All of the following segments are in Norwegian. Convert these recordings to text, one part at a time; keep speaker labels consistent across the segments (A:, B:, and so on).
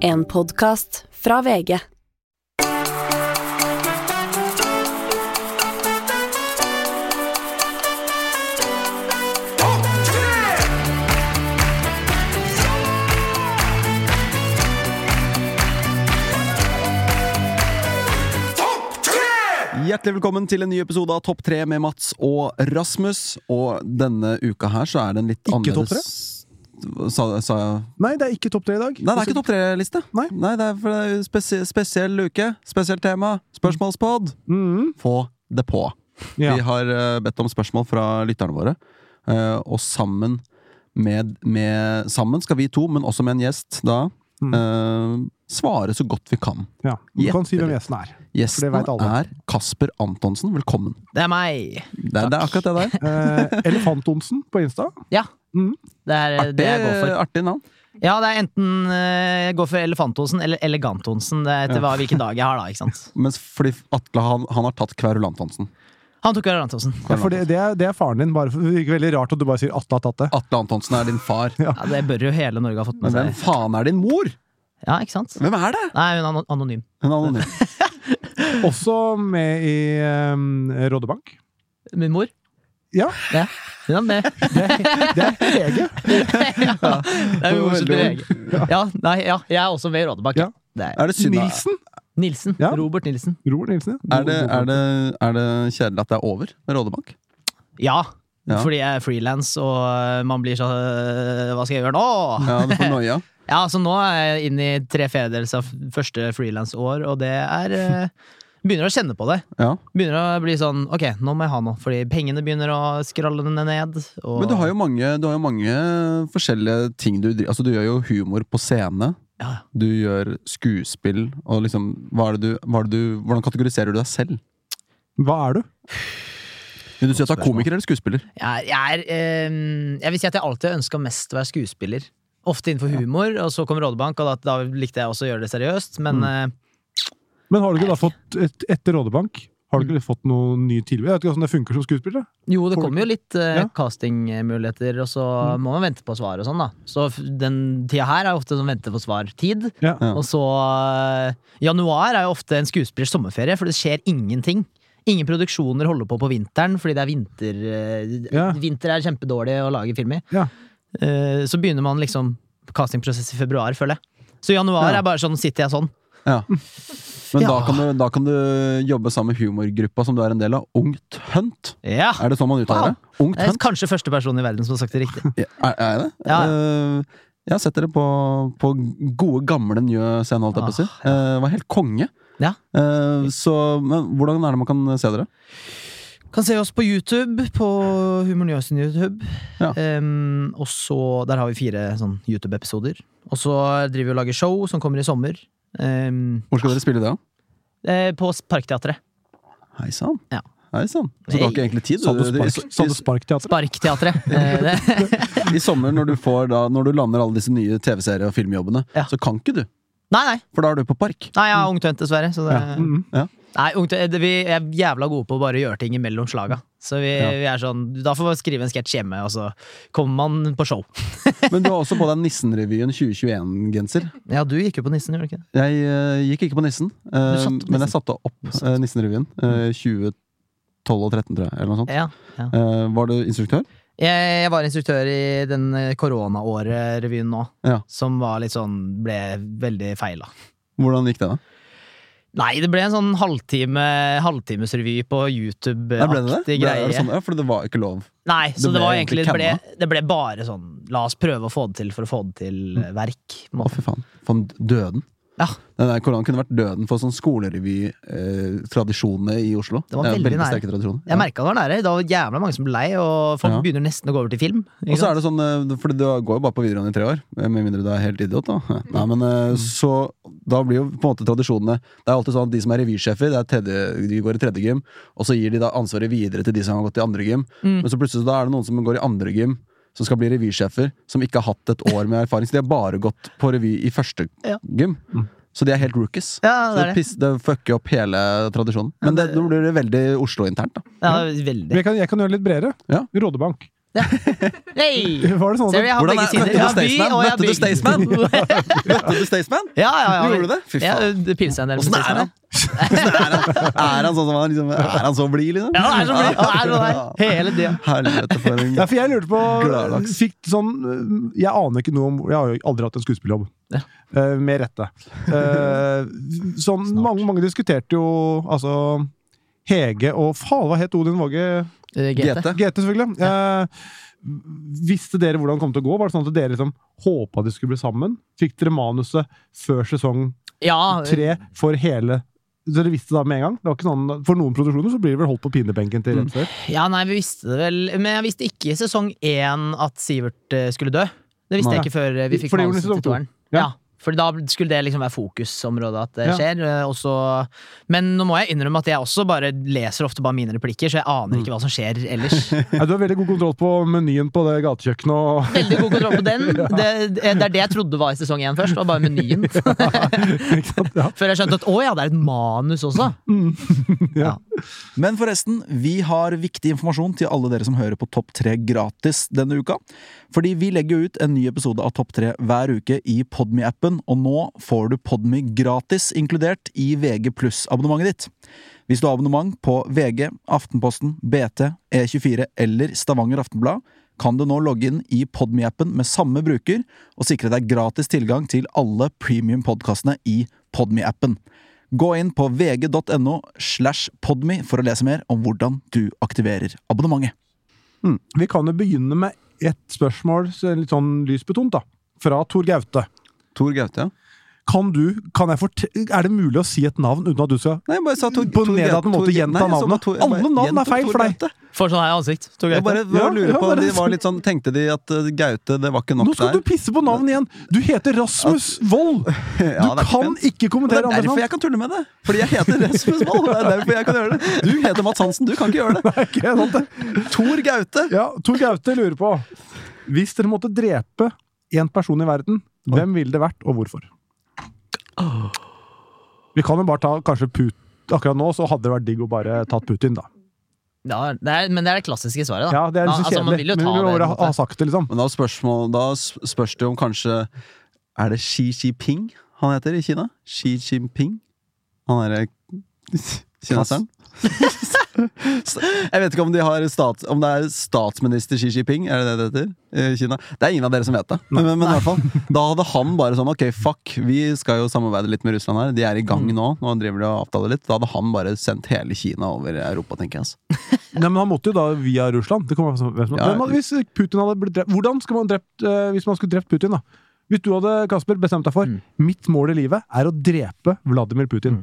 A: En podkast fra VG.
B: Hjertelig velkommen til en ny episode av Topp 3 med Mats og Rasmus. Og denne uka her så er det en litt
C: Ikke Topp
B: annerledes Sa, sa jeg
C: Nei, det er ikke topp tre i dag.
B: Nei, det er ikke Topp 3-liste.
C: Nei.
B: det er, for det er jo spesi spesiell uke, spesielt tema. Spørsmålspod.
C: Mhm.
B: Få det på.
C: Ja.
B: Vi har eh, bedt om spørsmål fra lytterne våre, eh, og sammen med, med Sammen skal vi to, men også med en gjest da,
C: Mm.
B: eh, svare så godt vi kan.
C: ja. Du
B: Ja.
C: kan si hvem gjesten er.
B: Gjesten
C: vet alle.
B: er Kasper Antonsen. Velkommen.
D: Det er meg.
B: Det, er- det er akkurat det der.
C: Eh, Elefant-Onsen på Insta.
D: Ja.
C: Mhm.
D: Det er
B: Artig,
D: Eh, det jeg går for.
B: artig navn.
D: Ja, det er enten eh, jeg går for Elefantonsen eller Elegantonsen. Det er etter hva, hvilken dag jeg har da. ikke sant?
B: Mens fordi Atle han, han har tatt Kverulantonsen.
D: Han tok Elegantonsen.
C: Ja, for det, det, er, det er faren din. Bare, for- det virker veldig rart at du bare sier Atle har tatt det.
B: Atle Antonsen er din far.
C: Ja.
D: Ja, det bør jo hele Norge ha fått med
B: Men hvem
D: seg.
B: faen er din mor?!
D: Ja, ikke sant?
B: Hvem er det?!
D: Nei, hun er ano- anonym.
B: En anonym.
C: Også med i eh, Rådebank.
D: Min mor?
C: Ja.
D: Ja, hun er med.
C: Det er Hege.
D: Det er min mor som
B: Veldig
D: blir egen. Ja, nei, ja, jeg er også med i Rådebank.
C: Ja.
D: Det er
B: Er det synd da?
C: Nilsen.
D: Nilsen.
C: Ja.
D: Robert Nilsen.
C: Roar Nilsen, ja.
B: Er det, er, det, er det kjedelig at det er over med Rådebank?
D: Ja.
B: Ja.
D: Fordi jeg er frilans, og eh, man blir så eh, Hva skal jeg gjøre nå?
B: Ja, du får noia.
D: Ja, så nå er jeg inne i tre fjerdedels av første frilansår, og det er eh, Begynner å kjenne på det.
B: Ja.
D: Begynner å bli sånn Ok, nå må jeg ha noe, fordi pengene begynner å skralle ned. Og,
B: Men du har jo mange, du har jo mange forskjellige ting du driver Altså, du gjør jo humor på scene.
D: ja,
B: Du gjør skuespill og liksom hva er det du, hva er det du, Hvordan kategoriserer du deg selv?
C: Hva er du?
B: Vil du si at du er komiker eller skuespiller?
D: jeg, er- jeg, er, eh, jeg vil si at jeg alltid har ønska mest å være skuespiller. Ofte innenfor humor, og så kom Rådebank, og da, da likte jeg også å gjøre det seriøst. Men
B: Mm.
D: eh,
C: Men har du ikke da fått, et, etter Rådebank, har du ikke fått noe nye tilbud? Jeg vet ikke hvordan det funker som skuespiller.
D: jo, det
C: Folk-
D: kommer jo litt eh,
C: Ja.
D: castingmuligheter, og så
B: Mm.
D: må man vente på svar og sånn, da. Så f- den tida her er ofte sånn vente på svar-tid.
C: Ja.
B: Ja.
D: Og så eh, Januar er jo ofte en skuespillers sommerferie, for det skjer ingenting. Ingen produksjoner holder på på vinteren, fordi det er vinter eh,
C: Ja.
D: Vinter er kjempedårlig å lage film i.
C: Ja.
D: Eh, Så begynner man liksom castingprosess i februar, føler jeg. Så januar
B: Ja.
D: er bare sånn sitter jeg sånn.
B: Ja. Men da,
D: Ja.
B: kan du, da kan du jobbe sammen med humorgruppa som du er en del av. Ungt Hunt.
D: Ja!
B: Er det sånn man uttaler det? Ungt
D: Jeg er
B: Hunt?
D: kanskje første person i verden som har sagt det riktig.
B: Ja, Er, er jeg det?
D: Ja.
B: Eh, jeg har sett dere på, på gode, gamle Njø scene, holdt jeg på å si.
D: Ah,
B: Eh, var helt konge.
D: Ja.
B: Eh, så men, hvordan er det man kan se dere?
D: Kan se oss på YouTube, på Humor Njø sin YouTube.
B: Ja.
D: Ehm, og så Der har vi fire sånn YouTube-episoder. Og så driver vi og lager show som kommer i sommer. Ehm,
B: Hvor skal dere spille det?
D: eh, på Parkteatret.
B: Hei sann.
D: Ja. Sånn
B: Hei sann. Så du har
D: Hei.
B: ikke egentlig tid?
C: Sande
B: Du, i,
C: Spark- Sande
B: i,
C: Spark-teatret.
D: Sparkteatret. Eh, det-
B: i, I sommer, når du, får, da, når du lander alle disse nye TV-serie- og filmjobbene,
D: Ja.
B: så kan ikke du.
D: Nei, nei.
B: For da er du på park.
D: nei jeg er ungtønt, dessverre. Så
C: Ja.
B: Mm.
D: det,
C: Mhm.
D: nei, ungtønt, det, vi er jævla gode på å bare gjøre ting imellom slaga. Så vi,
B: Ja.
D: vi er sånn Da får man skrive en sketsj hjemme, og så kommer man på show.
B: Men du har også på deg Nissenrevyen 2021-genser.
D: Ja, du gikk jo på Nissen, gjorde du ikke det?
B: Jeg eh, gikk ikke på Nissen, eh,
D: satte opp
B: men jeg
D: Nissen.
B: satte opp eh, Nissenrevyen. eh, 2012 og 2013, tror jeg. Eller noe sånt.
D: Ja.
B: Eh, var du instruktør?
D: Jeg, jeg var instruktør i den eh, koronaåret-revyen nå,
B: Ja.
D: som var litt sånn Ble veldig feila.
B: Hvordan gikk det, da?
D: Nei, det ble en sånn halvtime halvtimesrevy på
B: Nei, ble det det?
D: YouTube-aktig
B: Ble- er
D: greie.
B: det sånn, ja, fordi det var ikke lov.
D: Nei, så
B: Det
D: det,
B: ble
D: var
B: egentlig
D: egentlig, det, ble, det ble bare sånn La oss prøve å få det til for å få det til
B: Mm.
D: eh, verk. på en
B: Å,
D: måte.
B: fy faen. For døden.
D: Ja,
B: Den der koronaen kunne vært døden for sånn skolerevytradisjonene i Oslo.
D: Det var
B: er
D: veldig nære.
B: sterke tradisjoner.
D: jeg merka det var nære. Det var jævla mange som ble lei, og folk
B: Ja.
D: begynner nesten å gå over til film.
B: Og så er det sånn, eh, fordi du går jo bare på videregående i tre år, eh, med mindre du er helt idiot, da.
D: Mm.
B: Nei, men eh, så Da blir jo på en måte tradisjonene Det er alltid sånn at de som er revysjefer, det er tredje, de går i tredje gym, og så gir de da ansvaret videre til de som har gått i andre gym.
D: Mm.
B: Men så plutselig så da er det noen som går i andre gym, som skal bli revysjefer, som ikke har hatt et år med erfaring, så de har bare gått på revy i første
D: Ja.
B: gym. Så de er helt rookies. Så
D: Ja, det er
B: det,
D: det.
B: piss, det fucker opp hele tradisjonen. Men det, nå blir det veldig Oslo-internt, da.
D: Ja, veldig.
C: Men Jeg kan, jeg kan gjøre det litt bredere.
B: Ja.
C: Rådebank.
D: Hey!
C: Var det sånn
D: Ser du,
C: at
D: jeg har
B: Hvordan
D: begge
B: er- møtte
D: sider.
B: du
D: Jeg har by,
B: Staysman?
D: og jeg har
B: Møtte du
D: bygd.
B: Staysman? Møtte du Staysman?
D: Ja, ja, ja.
B: Gjorde du det? Fy
D: Ja,
B: faen.
D: det pilsa en del med
B: Åssen er
D: Staysman,
B: han? Hvordan er han? Er han sånn som han liksom, Er han så blid, liksom?
D: Ja, han er så blid. Han er sånn der. Hele tida.
B: Helvete, for en
C: ja, for jeg lurte på
B: Gladlaks.
C: fikk sånn, øh, Jeg aner ikke noe om Jeg har jo aldri hatt en skuespillerjobb.
D: Ja.
C: Eh, med rette. Eh, sånn, mange, mange diskuterte jo altså Hege og faen, hva het Odin Våge?
D: Eh, GT.
B: GT.
C: GT, selvfølgelig. Eh, visste dere hvordan det kom til å gå? Var det sånn at dere liksom håpa de skulle bli sammen? Fikk dere manuset før sesong
D: Ah, Ja,
C: tre for hele Så dere visste det da med en gang? Det var ikke sånn, for noen produksjoner så blir det vel holdt på pinebenken til rett før.
D: Ja, nei, vi visste det vel Men jeg visste ikke i sesong én at Sivert eh, skulle dø. Det visste
C: Nei.
D: jeg ikke før eh, vi fikk
C: For det gjorde
D: manuset
C: han i sesong
D: til toeren.
C: to. Ja.
D: Ja. For da skulle det liksom være fokusområdet at det
C: Ja.
D: skjer. eh, og så- men nå må jeg innrømme at jeg også bare leser ofte bare mine replikker, så jeg aner
C: Mm.
D: ikke hva som skjer ellers.
C: Ja, du har veldig god kontroll på menyen på det gatekjøkkenet. Og...
D: Veldig god kontroll på den. Det, det er det jeg trodde var i sesong én først. Var bare menyen.
C: Ikke sant? Ja.
D: Før jeg skjønte at å ja, det er et manus også.
C: Ja.
B: Men forresten, vi har viktig informasjon til alle dere som hører på Topp 3 gratis denne uka. Fordi vi legger jo ut en ny episode av Topp 3 hver uke i Podme-appen, og nå får du Podme gratis inkludert i VG pluss-abonnementet ditt. Hvis du har abonnement på VG, Aftenposten, BT, E24 eller Stavanger Aftenblad, kan du nå logge inn i Podme-appen med samme bruker og sikre deg gratis tilgang til alle premium-podkastene i Podme-appen. Gå inn på vg.no slash podme for å lese mer om hvordan du aktiverer abonnementet.
C: Vi kan jo begynne med ett spørsmål, så er det litt sånn lysbetont, da. Fra Tor Gaute.
B: Tor Gaute, ja.
C: Kan du, kan jeg fort er det mulig å si et navn uten at du skal
B: Nei, jeg bare sa Tor
C: På nedadende måte gjenta navnet. Alle navn er feil for deg.
D: Får sånn her ansikt. Tor
B: Jeg
D: Gaute.
B: bare, bare
C: Ja,
B: lurer
C: ja,
B: på om
C: bare-
B: de var litt sånn, Tenkte de at eh, Gaute, det var ikke nok
C: Nå skal
B: der?
C: du pisse på navn igjen! Du heter Rasmus Wold!
B: Ja, det er ikke
C: Du kan
B: pent.
C: ikke
B: Og det
C: kommentere
B: er
C: andre
B: derfor
C: navn!
B: jeg kan tulle med det! Fordi jeg heter Rasmus Wold! Det er derfor jeg kan gjøre det. Du heter Mats Hansen, du kan ikke gjøre det.
C: Ikke sant det?
B: Tor Gaute!
C: Ja, Tor Gaute lurer på Hvis dere måtte drepe én person i verden, hvem ville det vært, og hvorfor? Vi kan jo bare ta kanskje Putin Akkurat nå så hadde det vært digg å bare tatt Putin, da.
D: Ja, det er, men det er det klassiske svaret,
C: Ja,
D: da.
C: Det er liksom
D: altså, man
C: kjedelig,
D: vil jo
C: men
D: ta
C: vi må
D: det. på
C: bare
D: en
C: ha, ha
D: måte.
C: sagt det, liksom.
B: Men da, er spørsmål, da sp- spørs det om kanskje Er det Xi Jinping han heter i Kina? Xi Jinping? Han er eh, kineseren? Jeg vet ikke om, de har stats, om det er statsminister Xi Jinping Er det det det heter? i Kina. Det er ingen av dere som vet det. Men, men, men i hvert fall, da hadde han bare sånn Ok, fuck, vi skal jo samarbeide litt med Russland her. De er i gang nå. Nå driver de og avtaler litt. Da hadde han bare sendt hele Kina over Europa, tenker jeg. altså.
C: Nei, men han måtte jo da via Russland. Det kommer an på hvem som-
B: Ja.
C: Hvem hadde- Hvis Putin hadde blitt drept Hvordan skulle man drept eh, hvis man skulle drept Putin, da? Hvis du hadde Kasper, bestemt deg for
B: Mm.
C: mitt mål i livet er å drepe Vladimir Putin.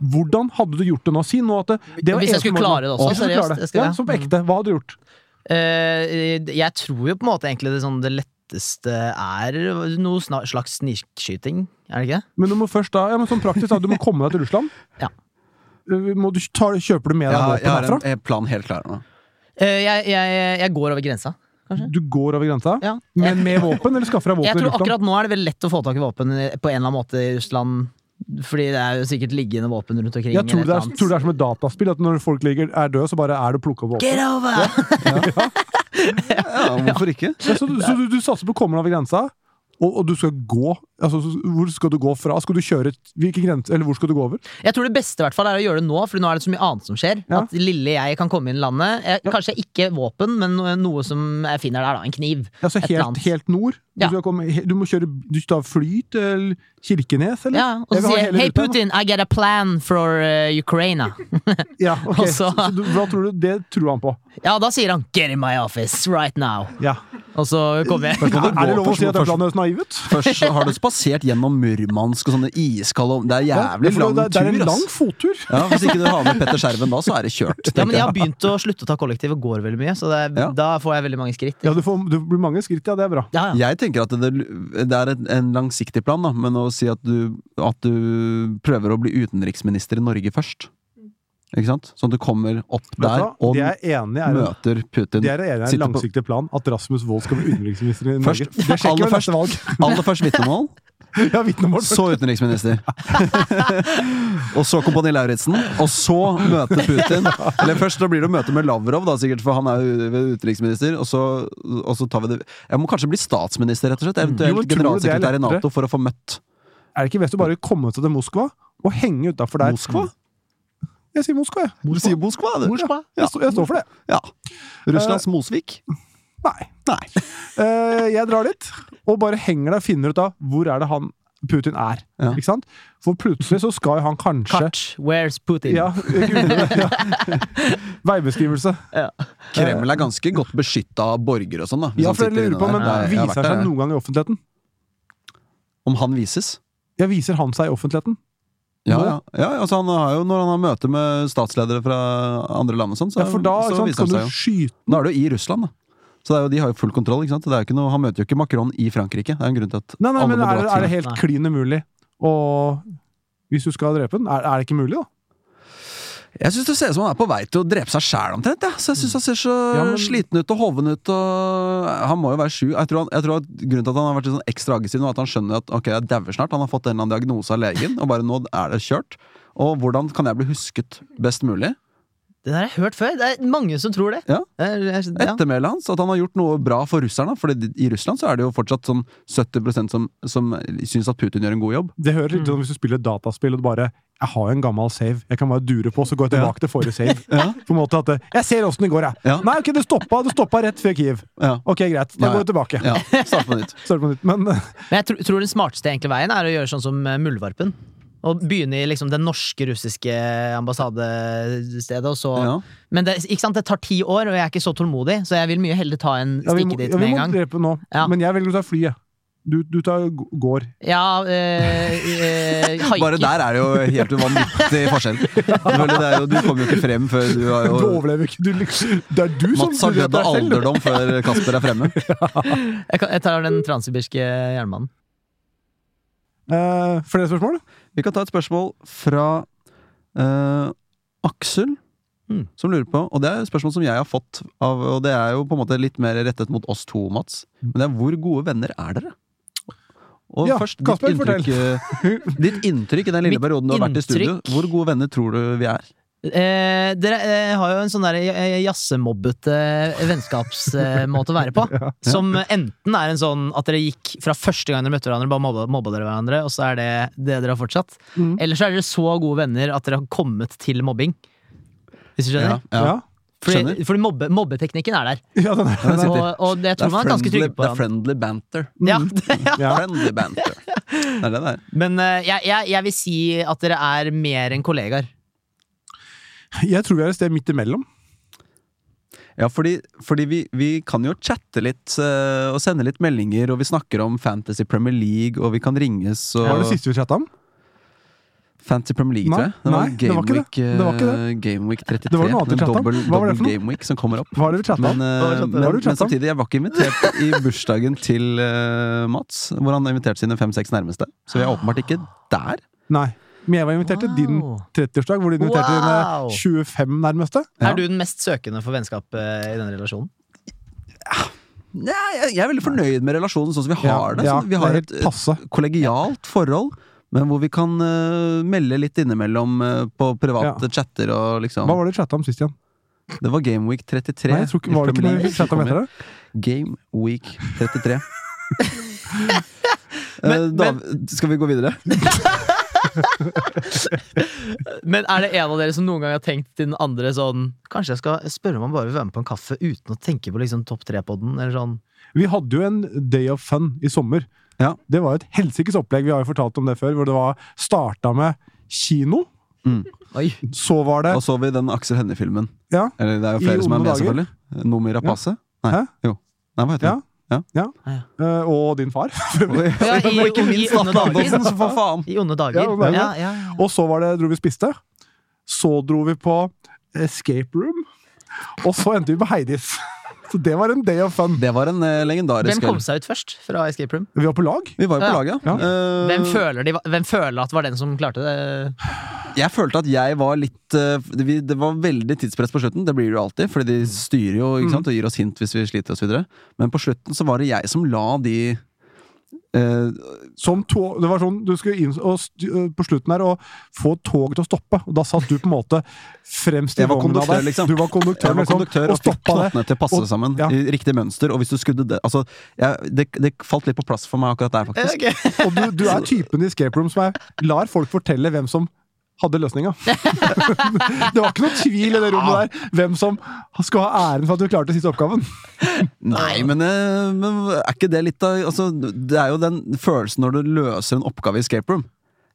C: Hvordan hadde du gjort det nå? Si nå at det, det var
D: Hvis jeg
C: eneste
D: skulle
C: målet-
D: klare det også,
C: Hvis du skulle
D: seriøst,
C: klare det.
D: jeg Mm. skal-
C: ja, som på ekte. Hva hadde du gjort?
D: Eh, jeg tror jo på en måte egentlig det, sånn, det letteste er noe sna- slags snikskyting, er det ikke det?
C: Men du må først da, ja, men sånn praktisk da, du må komme deg til Russland.
D: Ja.
C: Eh, Må du ta, kjøper du med deg
B: Jeg har,
C: våpen
B: jeg har
C: herfra?
B: en en plan helt klar nå.
D: Eh, jeg, jeg, jeg går over grensa.
C: Du går over grensa?
D: Mm. Ja.
C: Men med våpen, eller skaffer deg våpen
D: Jeg
C: i
D: tror
C: Russland?
D: akkurat nå er det veldig lett å få tak i våpen i- på en eller annen måte i Russland. Fordi det er jo sikkert liggende våpen rundt omkring.
C: Jeg tror
D: eller
C: det,
D: et
C: er,
D: eller
C: tror det er som et dataspill, at når folk ligger, er døde, så bare er det å plukke opp våpen.
D: annet. Get over!
B: Ja, hvorfor ikke?
C: Ja, så du, så du, du satser på å komme deg over grensa, og, og du skal gå altså, så- Hvor skal du gå fra? Skal du kjøre et- Hvilken grense Eller hvor skal du gå over?
D: Jeg tror det beste i hvert fall er å gjøre det nå, for nå er det så mye annet som skjer.
C: Ja.
D: At lille jeg kan komme inn i landet. Jeg, Kanskje ikke våpen, men noe, noe som jeg finner der, da. En kniv.
C: Altså
D: Et eller
C: helt,
D: annet.
C: helt nord? Du,
D: Ja.
C: skal komme, he- du må kjøre Du tar fly til Kirkenes, eller?
D: Ja, og
C: Jeg vil
D: så
C: ha
D: sier jeg
C: hele
D: Hei,
C: ruta, jeg,
D: Putin, I get a plan for uh, Ukraina.
C: Ja, ok.
D: Og
C: så,
D: så-
C: så du, hva tror du Det tror han på.
D: Ja, da sier han 'get in my office right now'.
C: Ja.
D: Og så kommer jeg.
B: Kan
C: Er,
B: du
C: er det
B: gå
C: lov å si at det
B: først-
C: er landet høres naiv ut?
B: Først så har du spasert gjennom Murmansk og sånne iskalde om- Det er jævlig
C: Ja, for
B: lang
C: det, det er en
B: tur,
C: lang
B: ass.
C: fottur.
B: Ja, Hvis ikke du har med Petter Skjerven da, så er det kjørt.
D: Ja, men
B: tenker
D: jeg
B: jeg.
D: har begynt å slutte å ta kollektiv og går veldig mye, så det, er-
B: Ja.
D: da får jeg veldig mange skritt.
C: Ja, du, får, du blir mange skritt, ja. Det er bra.
D: Ja, ja.
B: Jeg tenker at det, det er en- en langsiktig plan, da, men å si at du, at du prøver å bli utenriksminister i Norge først. Ikke sant? Sånn at du kommer opp
C: Vet du
B: der
C: hva?
B: og
C: Det er jeg enig i er en-
B: møter Putin.
C: det er jeg enig i er en
B: Sitter på-
C: langsiktig plan at Rasmus Wold skal bli utenriksminister i Norge.
B: Først-
C: Det sjekker
B: aller
C: vi neste valg.
B: Aller først vitnemål,
C: Ja, vitnet vårt.
B: Så utenriksminister. og så Kompani Lauritzen. Og så møte Putin. Eller først da blir det å møte med Lavrov, da, sikkert, for han er jo utenriksminister. Og så, og så tar vi det Jeg må kanskje bli statsminister, rett og slett.
C: Jo, men
B: Eventuelt
C: tror du det er
B: generalsekretær i
C: lettere?
B: Nato for å få møtt
C: Er det ikke best å bare komme seg til Moskva og henge utafor der?
B: Moskva.
C: Jeg sier Moskva, jeg.
B: Du sier Moskva, du.
C: Moskva. Eh, Jeg, står- jeg står for det.
B: Ja. Russlands Mosvik?
C: Nei.
B: Nei.
C: Eh, jeg drar dit, og bare henger der og finner ut av hvor er det han Putin er.
B: Ja.
C: Ikke sant? For plutselig så skal jo han kanskje
D: Kart, where's Putin?
C: ja, google det, ja. Veibeskrivelse.
B: Kreml er ganske godt beskytta av borgere og sånn, da. hvis
C: Ja,
B: han
C: for jeg
B: sitter
C: lurer
B: inne
C: på,
B: der.
C: men
B: Nei, jeg har
C: Viser
B: vært
C: seg
B: der,
C: noen gang i offentligheten?
B: jeg. Om han vises?
C: Ja, Viser han seg i offentligheten?
B: Ja,
C: Nå?
B: ja. ja altså han har jo, når han har møte med statsledere fra andre land og sånn, så,
C: Ja, for da ikke
B: så
C: sant,
B: viser
C: kan
B: han
C: du
B: seg jo.
C: skyte
B: Nå er det jo i Russland, da. Så det er jo, de har jo full kontroll. ikke sant? Det er jo ikke noe, han møter jo ikke Macron i Frankrike. Det er en grunn til at
C: Nei, nei,
B: alle
C: men
B: må
C: er,
B: dra
C: det- er det
B: til
C: helt
D: Nei.
C: klin umulig? Og hvis du skal drepe den, er, er det ikke mulig, da?
B: Jeg syns det ser ut som han er på vei til å drepe seg sjæl omtrent. Ja. Så jeg syns han ser så
C: Ja, men-
B: sliten ut og hoven ut. og Han må jo være sju. Jeg tror, han, jeg tror at Grunnen til at han har vært litt sånn ekstra aggressiv nå, er at han skjønner at ok, jeg dauer snart. Han har fått en eller annen diagnose av legen, og bare nå er det kjørt. Og hvordan kan jeg bli husket best mulig?
D: Det der har jeg hørt før. Det er mange som tror det.
B: Ja.
D: Det er- jeg- ja.
B: ettermælet hans, at han har gjort noe bra for russerne. For i Russland så er det jo fortsatt sånn 70 som, som syns at Putin gjør en god jobb.
C: Det høres
D: Mm.
C: litt ut som hvis du spiller dataspill og du bare Jeg har jo en gammel save. Jeg kan bare dure på, så går jeg tilbake til forrige save. På en måte at eh, Jeg ser åssen det går, jeg.
B: Ja.
C: Nei, ok, det stoppa, det stoppa rett før Kiev.
B: Ja,
C: Ok, greit. Da
B: Ja,
C: går vi tilbake.
B: ja Start på nytt.
C: Starte på nytt. Men eh,
D: Men jeg tro, tror den smarteste egentlig veien er å gjøre sånn som eh, Muldvarpen. Og begynne i liksom den norske russiske ambassadestedet, og så
B: Ja.
D: Men det, ikke sant, det tar ti år, og jeg er ikke så tålmodig, så jeg vil mye heller ta en
C: ja, vi
D: stikke
C: må,
D: dit
C: ja, vi
D: med en
C: må
D: gang.
C: drepe nå.
D: Ja.
C: Men jeg velger å ta flyet. Du, du tar g- går.
D: Ja, eh, eh, haiker.
B: Bare der er det jo helt vanvittig forskjell. Selvfølgelig, det er jo, Du kommer jo ikke frem før du har
C: Du
B: jo
C: overlever ikke. Du, liksom- det er du som
B: Mats har
C: du vet
B: dødd
C: deg
B: av
C: selv.
B: alderdom før Kasper er fremme.
D: Jeg, kan, jeg tar den transsibirske jernbanen.
C: Eh, flere spørsmål?
B: Vi kan ta et spørsmål fra eh, Aksel,
D: Mm.
B: som lurer på Og det er et spørsmål som jeg har fått, av, og det er jo på en måte litt mer rettet mot oss to, Mats. Men det er hvor gode venner er dere? Og
C: Ja,
B: først
C: Kasper,
B: ditt, inntrykk, eh, ditt inntrykk i den lille
D: Mitt
B: perioden du har vært i studio.
D: inntrykk?
B: Hvor gode venner tror du vi er?
D: Eh, dere eh, har jo en sånn der eh, jazzemobbete vennskapsmåte å være på. Som enten er en sånn at dere gikk fra første gang dere møtte hverandre, bare mobba, mobba dere hverandre, og så er det det dere har fortsatt.
C: Mm.
D: Eller så er dere så gode venner at dere har kommet til mobbing. Hvis du skjønner?
B: ja.
C: Ja.
D: fordi
B: skjønner.
D: fordi mobbe, mobbeteknikken er der.
C: Ja, den er,
B: den
D: Og,
B: sitter.
D: og det, jeg tror man er ganske
B: det
D: trygge på
B: er
D: hverandre.
B: friendly banter.
D: Ja, det, ja.
C: ja.
B: Friendly banter. Det er det det er.
D: Men eh, jeg, jeg, jeg vil si at dere er mer enn kollegaer.
C: Jeg tror vi er et sted midt imellom.
B: Ja, fordi, fordi vi, vi kan jo chatte litt eh, og sende litt meldinger, og vi snakker om Fantasy Premier League, og vi kan ringes og
C: Var det siste vi chatta om?
B: Fantasy Premier League,
C: Nei,
B: tror jeg. Det var
C: nei, det var ikke
B: Gameweek eh,
C: det. Det var ikke
B: Gameweek 33.
C: Det var noe annet vi
B: en
C: chatta om.
B: dobbel,
C: Hva var det
B: dobbel
C: for noe?
B: Gameweek som kommer opp.
C: Hva er det vi chatta om?
B: Men, eh,
D: Hva var det vi chatta om?
B: men,
C: Hva var det vi
B: men
C: chatta om?
B: samtidig, jeg var ikke invitert i bursdagen til eh, Mats, hvor han inviterte sine fem-seks nærmeste. Så vi er åpenbart ikke der.
C: Nei. Men jeg var invitert til din
D: Wow.
C: 30-årsdag, hvor du inviterte
D: Wow.
C: dine 25 nærmeste.
B: Ja.
D: Er du den mest søkende for vennskap eh, i denne relasjonen?
B: Nei, jeg, jeg er veldig fornøyd med relasjonen sånn som vi har det.
C: ja,
B: Sånn, at vi har
C: det er
B: et,
C: helt passe.
B: kollegialt forhold, men hvor vi kan eh, melde litt innimellom eh, på private chatter og liksom
C: Hva var det vi chatta om sist igjen?
B: Det var Gameweek 33.
C: Nei, jeg tror ikke, var det ikke noe vi chatta om etter det?
B: Gameweek 33. Eh,
D: Men-
B: Dav- skal vi gå videre?
D: Men er det en av dere som noen gang har tenkt til den andre sånn Kanskje jeg skal spørre om han bare vil være med på en kaffe uten å tenke på liksom topp tre-podden? Eller sånn
C: Vi hadde jo en Day of Fun i sommer.
B: Ja.
C: Det var jo et helsikes opplegg, vi har jo fortalt om det før, hvor det var starta med kino.
D: Oi!
C: Så var det
B: Da så vi den Aksel Hennie-filmen.
C: Ja.
B: Eller det er jo
C: I
B: flere som er
C: onde
B: med,
C: dager.
B: selvfølgelig. Nomi Rapace? Nei.
C: Hæ?
B: Jo. Nei, hva heter
C: Ja.
B: den?
C: eh, Og din far.
D: Ja, i,
B: Og ikke
D: i,
B: minst
D: onde
B: Atle
D: dager.
B: Antonsen, for faen!
D: I onde
C: Ja,
D: dager.
C: onde dager.
D: Ja, ja, ja.
C: Og så var det, dro vi og spiste. Så dro vi på Escape Room. Og så endte vi på Heidis. Så det var en Day of Fun.
B: Det var en eh, legendarisk
D: Hvem kom
B: kveld.
D: seg ut først fra Escape Room?
C: Vi var på lag.
B: Vi var jo på
D: Ja.
B: laget.
C: Ja.
B: Eh,
D: Hvem føler, de, var- hvem føler at var den som klarte det?
B: Jeg følte at jeg var litt eh, vi- Det var veldig tidspress på slutten. Det blir det jo alltid, fordi de
D: Mm.
B: styrer jo ikke sant, og gir oss hint hvis vi sliter osv. Men på slutten så var det jeg som la de eh,
C: Som tog, det var sånn, Du skulle inn og st øh, på slutten her og få toget til å stoppe. Og Da satt du på en måte fremst i
B: Jeg var
C: vogna
B: konduktør,
C: der.
B: liksom.
C: Du var konduktør,
B: Jeg var
C: liksom,
B: konduktør og
C: og
B: fikk
C: stoppa det.
B: knottene til å passe
C: Og-
B: sammen
C: ja.
B: i riktig mønster. Og hvis du skudde det Altså, jeg, det, det falt litt på plass for meg akkurat der, faktisk.
D: Ok.
C: Og du, du er typen i escape room som er, lar folk fortelle hvem som hadde løsninga. det var ikke noe tvil i det rommet der hvem som skal ha æren for at du klarte siste oppgaven.
B: Nei, men, eh, men er ikke det litt av altså, Det er jo den følelsen når du løser en oppgave i escape room.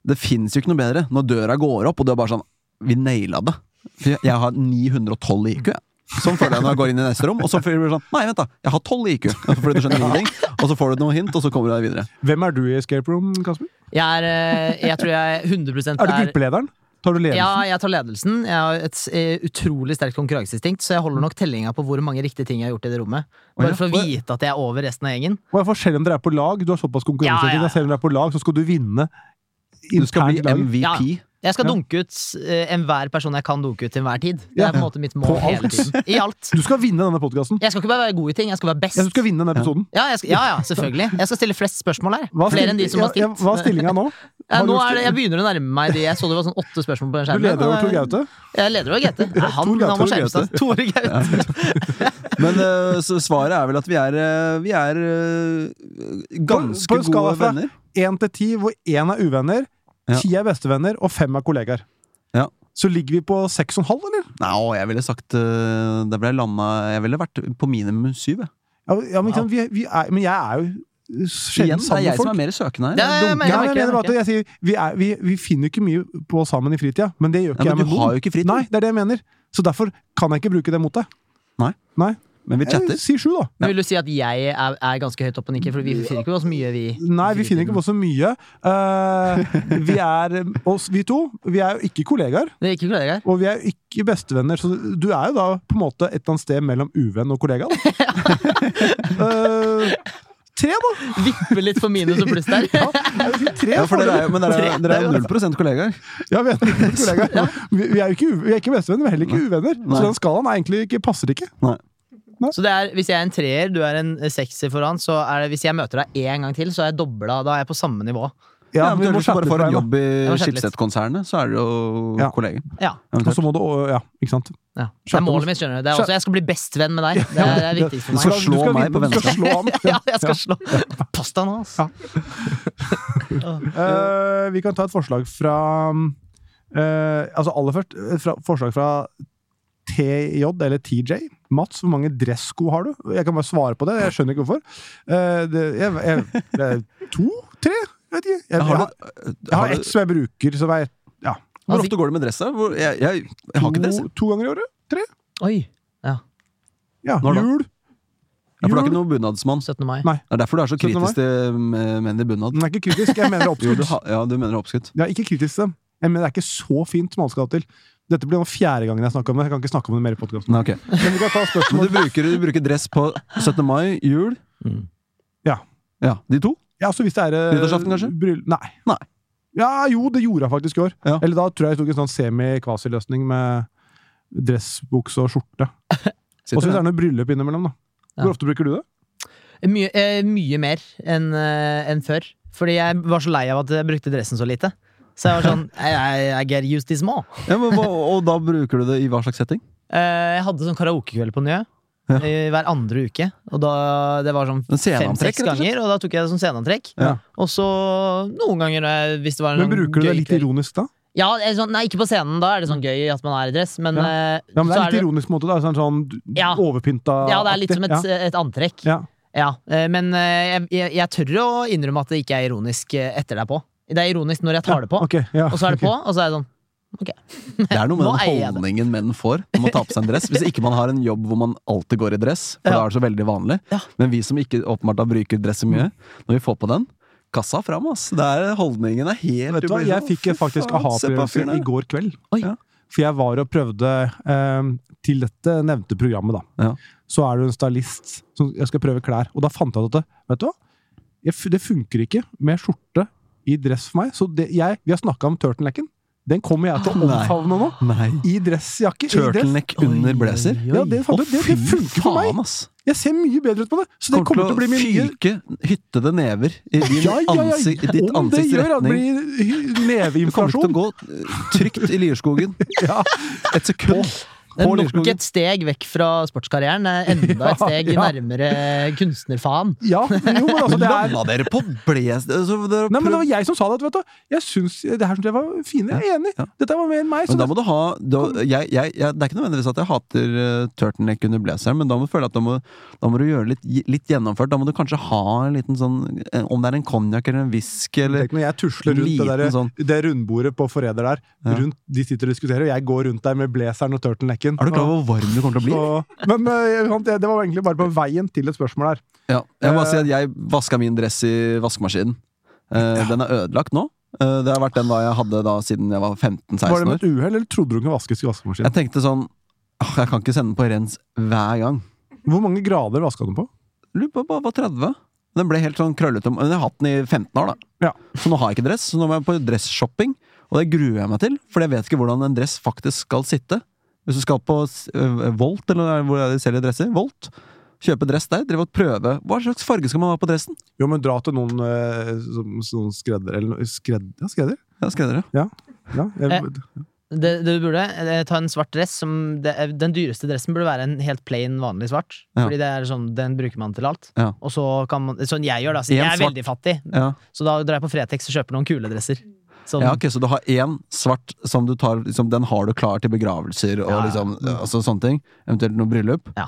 B: Det fins jo ikke noe bedre. Når døra går opp, og du er bare sånn Vi naila det. For jeg- jeg har 912 i IQ. jeg. Sånn føler jeg når jeg går inn i neste rom. Og så føler du sånn Nei, vent, da. Jeg har 12 i IQ. Fordi du skjønner ingenting. Og så får du noe hint, og så kommer du deg videre.
C: Hvem er du i escape room, Kasper?
D: Jeg, er, eh, jeg tror jeg 100
C: Er du gruppelederen? Tar du ledelsen?
D: Ja, jeg tar ledelsen. Jeg har et eh, utrolig sterkt konkurranseinstinkt, så jeg holder nok tellinga på hvor mange riktige ting jeg har gjort i det rommet.
C: Mm. Å, ja.
D: Bare for å
C: Å,
D: vite at jeg er over resten av gjengen.
C: Hva er forskjellen om dere er på lag? Du har såpass konkurranse.
D: Ja, ja, ja.
C: Selv om dere er på lag, så skal du vinne.
B: Du skal bli
C: internt i laget.
B: MVP.
D: Jeg skal
C: Ja.
D: dunke ut eh, enhver person jeg kan dunke ut til enhver tid. Det
C: Ja.
D: er på en måte mitt mål
C: På alt.
D: hele tiden. I alt.
C: Du skal vinne denne podkasten.
D: Jeg skal ikke bare være god i ting, jeg skal være best.
C: Du skal vinne denne episoden.
D: Ja, jeg skal, ja, ja, selvfølgelig. Jeg skal stille flest spørsmål her.
C: Hva er
D: Flere enn de
C: stil-
D: som har
C: ja, ja,
D: stilt.
C: hva er stillinga nå?
D: Ja,
C: Har du
D: nå er det, jeg
C: stil-
D: begynner å nærme meg de. Jeg så det var sånn åtte spørsmål på den
C: Du
D: skjermen.
C: leder over Tor Gaute.
D: Jeg leder over GT. Nei, Han,
C: Tor Gaute,
D: han må
C: Tor
D: skjerme seg. Tore Gaute.
B: Men eh, så svaret er vel at vi er, eh, vi er eh, ganske
C: På- på en skala
B: gode
C: fra-
B: venner.
C: Én til ti, hvor én er uvenner,
B: Ja.
C: ti er bestevenner, og fem er kollegaer.
B: Ja.
C: Så ligger vi på seks og en halv, eller?
B: Nei, å, jeg ville sagt eh, Der ble jeg landa Jeg ville vært på minimum syv. Jeg.
C: Ja, men- ja, men, ikke sant, vi, vi er, men jeg er jo
B: Igjen, det
C: sjelden
B: er
C: sammen med
B: jeg som
C: folk.
B: er mer søkende her.
D: Ja, ja, ja, men jeg
C: Ja, men
D: merker
C: jeg
D: det, jeg
C: mener bare
D: merker
C: at jeg sier, vi, er, vi, vi finner jo ikke mye på sammen i fritida, men det gjør ikke
B: Ja, men
C: jeg med
B: du har jo ikke fritid.
C: Nei, det er det jeg mener. Så derfor kan jeg ikke bruke det mot deg.
B: Nei.
C: Nei.
B: Men vi
C: Eh,
B: chatter.
C: Si sju, da.
D: Men vil du si at jeg er, er ganske høyt oppe og nikker, for vi finner ikke på så mye, vi.
C: Nei, vi finner ikke på så mye. Eh, vi er oss, vi to. Vi er jo ikke kollegaer,
D: Det er ikke kollegaer.
C: og vi er jo ikke bestevenner, så du er jo da på en måte et eller annet sted mellom uvenn og kollega. Da. Eh, tre, da!
D: Vipper litt for minus og pluss der.
C: Ja, jeg vil si tre.
B: Ja, for dere er jo, men dere er,
D: Tre,
B: dere er jo
D: det er
B: 0 kollegaer.
C: Ja, vi er ikke kollegaer. Vi, vi er jo ikke, u- vi er ikke bestevenner, vi er heller ikke uvenner.
B: Nei.
C: Så den skalaen er egentlig ikke, passer ikke.
D: Så det er, hvis jeg er en treer, du er en sekser foran, så er det, hvis jeg møter deg én gang til, så er jeg dobla. Da er jeg på samme nivå.
B: Ja, men Hvis du
C: skjerpe
B: bare får
C: deg,
B: en
C: da.
B: jobb i
D: Jeg må skjerpe litt.
B: Schibsted-konsernet, så er du jo
C: Ja.
B: kolleger.
D: Ja.
C: Og så må du, å- ja, ikke sant.
D: ja. Det er målet mitt, skjønner du. Det er også, jeg skal bli bestevenn med deg. Det er det er viktigst
B: Du
D: for
B: skal
D: meg.
B: slå meg på
C: Du skal slå ham.
D: Ja, jeg skal slå. Pass deg nå, altså.
C: Eh, vi kan ta et forslag fra eh, Altså aller først eh, fra, forslag fra TJ, eller TJ. Mats, hvor mange dressko har du? Jeg kan bare svare på det. Jeg skjønner ikke hvorfor. Eh, det, jeg, jeg, det er to? Tre? Jeg vet ikke. Jeg, jeg,
B: Har
C: har,
B: du,
C: jeg
B: har
C: har
B: du, Altså,
C: ett som jeg bruker. Som er ja,
B: hvor ofte går det med dress? da? Hvor- Jeg, jeg, jeg har ikke dress.
C: to, to ganger i året.
D: Oi.
C: Ja,
B: Når da?
C: Jul.
B: Ja, for du er ikke
C: Jul.
B: noen bunadsmann.
D: 17. mai.
C: Nei.
B: Det er derfor du er så
C: Skjønner du
B: kritisk til eh, menn i bunad.
C: Den er ikke kritisk. Jeg mener det er
B: Jo, du,
C: oppskudd.
B: ha- ja, du mener det er oppskutt.
C: Det er ikke kritisk til dem. Jeg mener det er ikke så fint som alle skal ha til. Dette blir nå fjerde gangen jeg snakker om det. Jeg kan ikke snakke om det mer i podkasten.
B: Nei, ok.
C: Men vi kan ta spørsmål.
B: Men du bruker, du bruker dress på 17. mai, jul
D: Mm.
C: Ja.
B: Ja, De to?
C: Ja, så hvis det er eh,
B: Nyttårsaften, kanskje?
C: Bryll... Nei.
B: Nei.
C: Ja, jo, det gjorde jeg faktisk i år.
B: Ja.
C: Eller da tror jeg jeg tok en sånn semi-kvasiløsning med dressbukse og skjorte. Og så hvis det
B: Sitter
C: er noe bryllup innimellom, da.
D: Ja.
C: Hvor ofte bruker du det?
D: Mye, eh, mye mer enn eh, enn før. Fordi jeg var så lei av at jeg brukte dressen så lite. Så jeg var sånn I, I, I get used this more.
B: Ja, men hva, og da bruker du det i hva slags setting?
D: Eh, jeg hadde sånn karaokekveld på Njø. eh, Hver andre uke. Og da, det var sånn
B: En sceneantrekk,
D: fem-seks
B: rett og slett?
D: ganger, og da tok jeg det som sceneantrekk.
B: Ja.
D: Og så noen ganger eh, hvis det var en
C: Men
D: sånn
C: bruker du
D: gøy
C: det litt
D: kveld.
C: ironisk da?
D: Ja, det er sånn, Nei, ikke på scenen. Da er det sånn gøy at man er i dress, men,
C: Ja.
D: eh,
C: Ja, men det
D: så
C: er litt ironisk på en måte, da. Sånn, sånn du-
D: Ja.
C: overpynta
D: ja, det er litt som et,
C: ja.
D: et antrekk.
C: Ja.
D: Ja, eh, Men eh, jeg, jeg, jeg tør å innrømme at det ikke er ironisk eh, etter deg på. Det er ironisk når jeg tar det på,
C: Ok, ja.
D: og så er det på, og så er det sånn.
B: Det er noe med
D: Nå
B: den
D: eier jeg det.
B: holdningen menn får om å ta på seg en dress. Hvis ikke man har en jobb hvor man alltid går i dress, for
D: Ja.
B: da er det så veldig vanlig.
D: Ja.
B: Men vi som ikke åpenbart da bruker dress så mye, når vi får på den Kassa fram, ass! Det er, holdningen er helt
C: Vet du hva, jeg fikk faktisk aha-opplevelse i går kveld.
D: Oi.
B: Ja.
C: For jeg var og prøvde eh, til dette nevnte programmet, da.
B: Ja.
C: Så er du en stylist som jeg skal prøve klær. Og da fant jeg ut at det, vet du hva? Jeg, f- det funker ikke med skjorte i dress for meg. Så det, jeg, vi har snakka om turtlenecken. Den kommer jeg til å
B: Å, Ah, nei.
C: omfavne nå.
B: Nei.
C: I dressjakke. i dress.
B: Turtleneck under blazer.
D: Oi, oi, oi.
C: Ja, det, fant jeg ut. det, det funker for meg!
B: ass!
C: Jeg ser mye bedre ut på det! Så det kommer til å bli min nye
B: fyke hyttede never i din
C: Ja, ja, ja.
B: ansikt- i ditt
C: Om det
B: ansikts
C: gjør at
B: retning.
C: det blir hy-
B: Du kommer til å
C: neveinflasjon
B: gå trygt i Lierskogen.
C: ja.
B: Et sekund
D: Det
B: på
D: er nok
B: Lierskogen.
D: et steg vekk fra sportskarrieren. Det er Enda et steg
C: Ja, ja.
D: nærmere eh, kunstnerfaen.
C: ja, jo, men altså,
B: Men
C: det er
B: landa dere på bles... Altså, dere har
C: Nei, men Det
B: prøvd-
C: var jeg som sa det. vet du. Jeg syns det her synes jeg var fine. Jeg er enig.
B: ja.
C: Dette var mer enn meg. Så
B: Men da må du ha da, jeg, jeg, jeg, Det er ikke nødvendigvis at jeg hater eh, turtleneck under blazeren, men da må du føle at da må, da må du gjøre det litt, litt gjennomført. Da må du kanskje ha en liten sånn eh, Om det er en konjakk eller en whisky eller
C: Tenk når jeg tusler rundt det,
B: Liten
C: der,
B: sånn.
C: det rundbordet på Forræder der.
B: Ja.
C: Rundt, de sitter og diskuterer, og jeg går rundt der med blazeren og turtlenecken.
B: Er du klar
C: Og-
B: over hvor varm du kommer til å bli?
C: og- Men eh, sant, det det var egentlig bare på veien til et spørsmål her.
B: Ja, jeg må bare
C: Eh,
B: si at jeg vaska min dress i vaskemaskinen. Eh, Den er ødelagt nå. Eh, det har vært den da jeg hadde da siden jeg var
C: Var det
B: 15-16
C: med
B: år.
C: et uhell, eller trodde du hun kunne vaskes i vaskemaskinen?
B: Jeg tenkte sånn «Åh, Jeg kan ikke sende den på rens hver gang.
C: Hvor mange grader vaska den på?
B: Lurer på bare var 30. Den ble helt sånn krøllete. Men jeg har hatt den i 15 år, da.
C: Ja.
B: Så nå har jeg ikke dress. Så nå må jeg på dresshopping, og det gruer jeg meg til. For jeg vet ikke hvordan en dress faktisk skal sitte. Hvis du skal på s- øh, Volt, eller hvor er det de selger dresser, Volt, kjøpe dress der, drive og prøve Hva slags farge skal man ha på dressen?
C: Jo, men dra til noen, eh, som- som skredder eller noe- skred, Ja, skredder?
B: Ja, skal dere.
C: Ja, jeg,
D: Eh. Det, det du burde eh, ta en svart dress som det, er- Den dyreste dressen burde være en helt plain, vanlig svart.
B: Ja.
D: Fordi det er sånn, den bruker man til alt.
B: Ja.
D: Og så kan man, Sånn jeg gjør, da.
B: En
D: Siden jeg er
B: svart-
D: veldig fattig.
B: Ja.
D: Så da drar jeg på Fretex og kjøper noen kule dresser. Sånn,
B: Ja, ok, Så du har én svart som du tar liksom, Den har du klar til begravelser og
D: Ja, ja.
B: liksom, altså, sånne ting. Eventuelt noe bryllup.
D: Ja.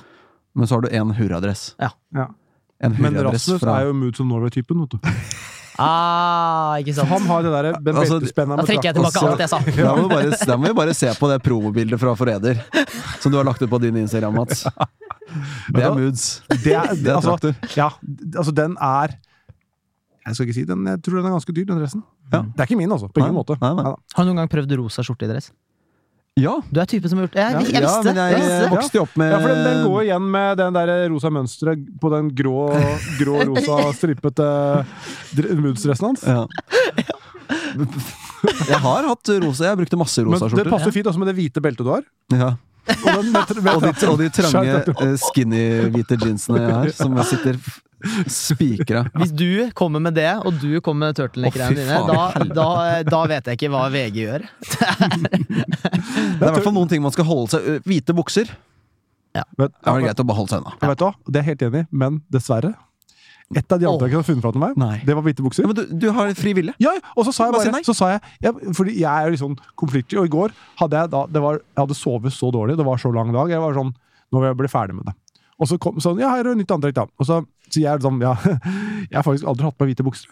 B: Men så har du én hurradress.
C: ja.
B: En
C: Men
B: hurradress
C: Rasmus
B: fra
C: er jo Moods of Norway-typen. vet du.
D: Ah, ikke sant?
C: Han har det eh, derre
B: Altså,
C: beltespenna
D: da trekker jeg
C: traktor.
D: tilbake alt jeg sa.
B: da må, vi bare, da må vi bare se på det promobildet fra Forræder som du har lagt ut på din Instagram, Mats. Det er
C: da-
B: moods.
C: Det er,
B: Det er
C: altså,
B: traktor.
C: Ja, altså den er Jeg skal ikke si den, jeg tror den er ganske dyr, den dressen.
B: Ja.
C: Det er ikke min, altså. På ingen
B: Nei,
C: måte.
B: nei, nei.
C: Neida.
D: Har du noen gang prøvd rosa skjorte i dress?
B: Ja,
D: Du er typen som har gjort det. Jeg, jeg,
B: ja,
D: visste
B: men
D: det!
B: jeg, eh,
D: Jeg visste det.
B: vokste jo opp med
C: Ja, for den,
B: Eh.
C: den går igjen med den der rosa mønsteret på den grå, grå rosa stripete dr- moods-dressen hans.
B: Ja. Jeg har hatt rosa. Jeg brukte masse
C: Men
B: rosa
C: det
B: skjorter.
C: passer fint også med det hvite beltet du har.
B: Ja.
C: Og, den, med, med,
B: Og de, og de trange
C: Skjønt,
B: eh, skinny-hvite jeansene jeg har, som sitter f- spikra.
D: Hvis du kommer med det, og du kommer med turtleneck-greiene
B: Å, fy
D: dine, da,
B: faen.
D: da, da vet jeg ikke hva VG gjør.
B: Det er i hvert fall noen ting man skal holde seg ø, Hvite bukser er
C: vet,
B: det greit å bare holde seg unna.
C: ja, vet du hva? Det er jeg helt enig i, men dessverre. Et av de antrekkene du har funnet fra til meg,
B: Nei.
C: det var hvite bukser.
B: Ja, men du, du har fri vilje.
C: Ja, ja, og så sa jeg
B: Bare si nei.
C: bare så sa jeg, jeg, Fordi jeg er jo litt sånn konfliktsky, og i går hadde jeg da det var, Jeg hadde sovet så dårlig, det var så lang dag. Jeg var sånn Nå vil jeg bli ferdig med det. Og så kom sånn Ja, her er det nytt antrekk, da. Og så sier jeg sånn Ja, jeg har faktisk aldri hatt på meg hvite bukser.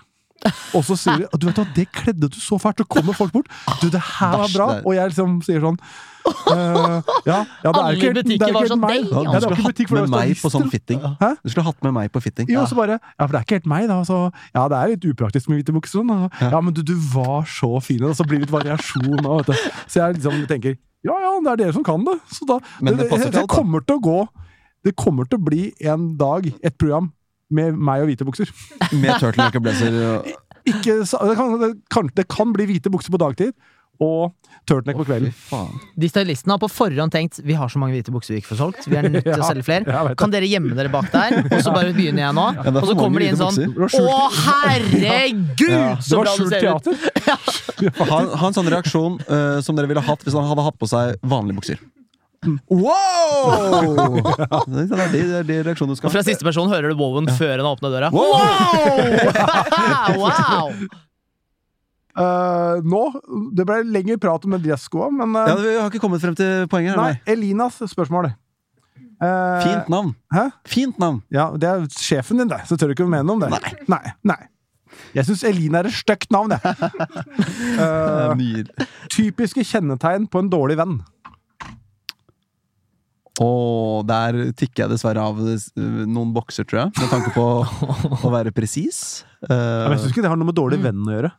C: Og så sier de Du vet hva, det kledde du så fælt! Så kommer folk bort. Du, det her var bra! Og jeg liksom sier sånn eh, ja, ja, det er
D: Alle
C: ikke, helt- det
D: butikker
C: er ikke
D: var
C: helt
D: sånn,
C: meg.
D: «Dei!»
B: Ja, du
C: Ja, det er
B: skulle
C: ikke
B: hatt
C: butikk, for det
B: med
C: er
B: meg på sånn
C: statister.
B: fitting.
C: Hæ?
B: Du skulle hatt med meg på fitting.
C: Jo, og så bare Ja, for det er ikke helt meg, da. Så, ja, det er litt upraktisk med hvite bukser. Sånn, da. ja, men du, du var så fin. Og så blir det litt variasjon òg, vet du. Så jeg liksom tenker Ja, ja, det er dere som kan det. Så da
B: Men det passer til
C: det
B: alt, da.
C: kommer til å gå Det kommer til å bli en dag, et program, med meg og hvite bukser.
B: Med turtleneck og blazer. og-
C: Ikke, sa- det, kan, det, kan, det kan bli hvite bukser på dagtid. Og turtleneck på
B: Fy
C: kvelden.
B: faen.
D: De stylistene har på forhånd tenkt vi har så mange hvite bukser vi ikke får solgt. Vi er nødt til å
C: Ja, jeg
D: selge flere.
C: vet det.
D: Kan dere gjemme dere bak der? Og så bare begynner jeg nå.
B: det er
D: Og så
B: for mange
D: kommer de inn
B: hvite
D: sånn
C: bukser. Det
D: Å,
C: var
B: Ja.
D: herregud!
C: Det
D: Så
C: var
D: bra du
C: skjult
D: ser ut!
C: teater.
B: Ha, en- ha en sånn reaksjon ø, som dere ville hatt hvis han hadde hatt på seg vanlige bukser. Wow! Det er de, det er de reaksjonene du skal
D: Og fra siste person hører du wowen før han har åpna døra.
B: Wow!
D: wow!
C: Eh, nå Det ble lengre prat om dresskoa, men eh,
B: Ja, Vi har ikke kommet frem til poenget.
C: Nei,
B: Nei.
C: Elinas spørsmål. Eh,
B: Fint navn.
C: Hæ?
B: Fint navn.
C: Ja, det er sjefen din, det. Så tør du ikke å mene noe om det. Nei. nei, Jeg syns Elina er et stygt navn, jeg. Eh,
B: Nydelig.
C: typiske kjennetegn på en dårlig venn.
B: Og der tikker jeg dessverre av ø, noen bokser, tror jeg, med tanke på å være presis.
C: Men
B: Uh,
C: jeg syns ikke det har noe med dårlig venn å gjøre.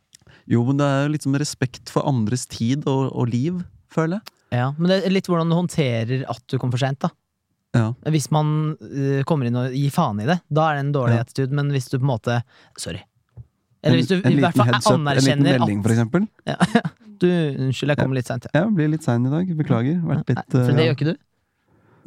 B: Jo, men det er jo liksom respekt for andres tid og, og liv, føler jeg.
D: Ja, men det er litt hvordan du håndterer at du kommer for sent, da.
B: Ja.
D: Hvis man eh, kommer inn og gir faen i det, da er det en dårlig
B: Ja.
D: attitude, men hvis du på en måte Sorry. Eller hvis du
B: en, en
D: i hvert
B: liten
D: fall
B: heads up, en liten
D: anerkjenner
B: melding, for
D: at
B: eksempel.
D: du, Unnskyld, jeg kom litt seint. Ja.
B: Jeg blir litt sein i dag, beklager. Vært litt
D: For
B: eh,
D: det gjør ikke du?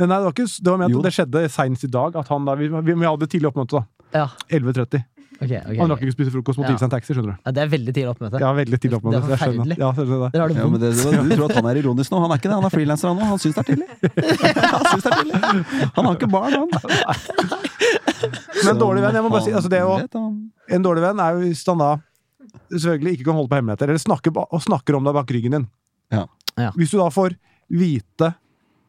C: Nei, det var ikke s- Det var ment
B: Jo.
C: at det skjedde seinest i dag. At han da, vi, vi, vi hadde tidlig oppmøte, da.
D: Ja,
C: 11.30.
D: ok, ok,
C: Han rakk
D: ok.
C: ikke å spise frokost, måtte
D: Ja.
C: hive seg en taxi. skjønner du
D: Ja, det er veldig tidlig oppmøte.
C: Ja, veldig tidlig oppmøte.
D: Det er
C: så jeg skjønner
D: forferdelig.
C: Ja, skjønner det.
D: Dere har det
B: Ja, men
D: vondt.
B: det, det, du tror at han er ironisk nå? Han er ikke det, han er frilanser han òg. Han syns det er tidlig. Han syns det er tidlig. Han har ikke barn, han.
C: Men dårlig venn, jeg må bare si, altså, det er jo-
B: Han vet, han.
C: En dårlig venn er jo hvis han da selvfølgelig ikke kan holde på hemmeligheter, eller snakker, ba- og snakker om deg bak ryggen din.
B: Ja.
D: Ja.
C: Hvis du da får vite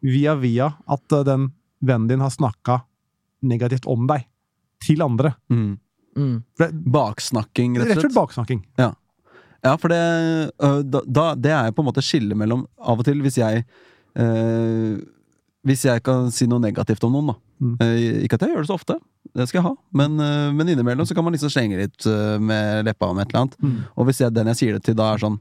C: via via at eh, den vennen din har snakka negativt om deg til andre.
B: Mm.
D: Mm.
C: For det,
B: Baksnakking,
C: rett og slett baksnakking.
B: Ja, for det, øh, da, da, det er på en måte skillet mellom Av og til, hvis jeg øh, Hvis jeg kan si noe negativt om noen, da.
C: Mm.
B: Eh, ikke at jeg gjør det så ofte, det skal jeg ha, men, øh, men innimellom så kan man liksom slenge litt øh, med leppa om et eller annet.
C: Mm.
B: Og hvis jeg, den jeg sier det til, da er sånn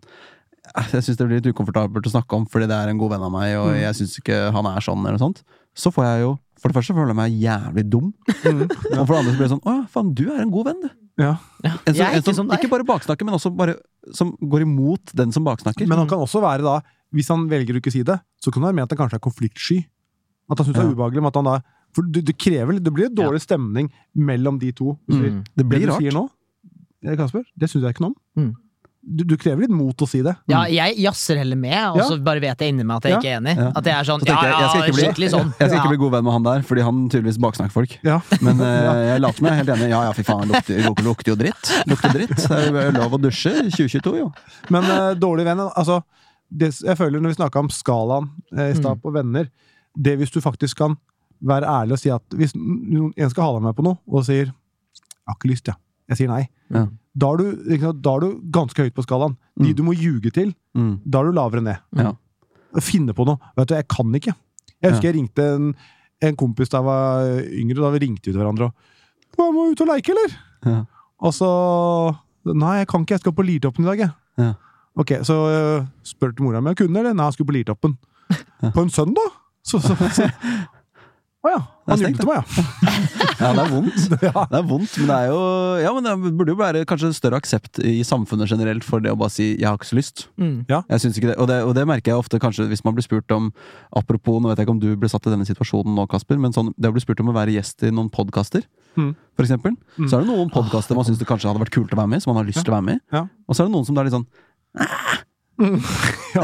B: eh, Jeg syns det blir litt ukomfortabelt å snakke om fordi det er en god venn av meg,
D: Mm.
B: og jeg syns ikke han er sånn, eller noe sånt. Så får jeg jo For det første føler jeg meg jævlig dum, og for det andre så blir det sånn Å ja, faen, du er en god venn, du.
C: Mm. Ja.
D: Ja,
B: En som,
D: jeg er
B: en
D: ikke sånn,
B: som,
D: som deg.
B: ikke bare baksnakker, men også bare som går imot den som baksnakker.
C: Men han kan også være da, hvis han velger å ikke si det, så kan det være med at han kanskje er konfliktsky. At han syns det
B: Ja.
C: er ubehagelig. men At han da, for det, det krever litt, det blir dårlig stemning mellom de to. Hvis vi,
D: Mm.
B: det blir
C: det du
B: rart.
C: sier nå, eh, Kasper, det syns jeg ikke noe om.
D: Mm.
C: Du, du krever litt mot å si det.
D: Ja, jeg jazzer heller med, og så bare vet jeg inni meg at jeg
C: Ja.
D: ikke er enig.
B: Ja.
D: At jeg er sånn
B: Så
D: ja,
B: tenkte jeg, jeg
D: ja,
B: skal ikke bli-
D: skikkelig sånn.
B: Jeg skal ikke
D: Ja.
B: bli god venn med han der, fordi han tydeligvis baksnakker folk.
C: Ja.
B: Men eh, jeg later som jeg er helt enig. Ja ja, fy faen, han lukter, lukter, lukter jo dritt. Lukter dritt. Det er jo lov å dusje i 2022, jo.
C: Men eh, dårlig venn altså, det, Jeg føler når vi snakka om skalaen eh, i
B: Mm.
C: stad på venner Det hvis du faktisk kan være ærlig og si at hvis noen, en skal ha deg med på noe, og sier 'Jeg har ikke lyst, ja. jeg sier nei',
B: Ja.
C: da, er du, ikke sant, da er du ganske høyt på skalaen. De
B: Mm.
C: du må ljuge til,
B: Mm.
C: da er du lavere ned.
B: Ja.
C: Finne på noe. Vet du, jeg kan ikke. Jeg husker jeg ringte en, en kompis da jeg var yngre, da vi ringte vi til hverandre og «Hva, 'Må vi ut og leke, eller?'
B: Ja.
C: Og så 'Nei, jeg kan ikke, jeg skal på Lirtoppen i dag', jeg.
B: Ja.
C: Ok, så øh, spurte mora om jeg kunne, eller? Nei, han skulle på Lirtoppen. På en søndag? Så, så, så. Å ja. Han
B: Det er stengt,
C: ljuger til meg, ja.
B: ja, det er vondt.
C: Ja.
B: Det er vondt, men det er jo Ja, men det burde jo være kanskje større aksept i samfunnet generelt for det å bare si 'jeg har ikke så lyst'.
D: Mm.
B: Jeg synes ikke det. Og, det, og det merker jeg ofte kanskje hvis man blir spurt om Apropos, nå vet jeg ikke om du ble satt i denne situasjonen nå, Kasper, men sånn, det å bli spurt om å være gjest i noen podkaster,
C: Mm.
B: for eksempel,
C: Mm.
B: så er det noen podkaster man syns det kanskje hadde vært kult å være med i, som man har lyst til å være med i,
C: Ja.
B: og så er det noen som det er litt sånn
C: ja.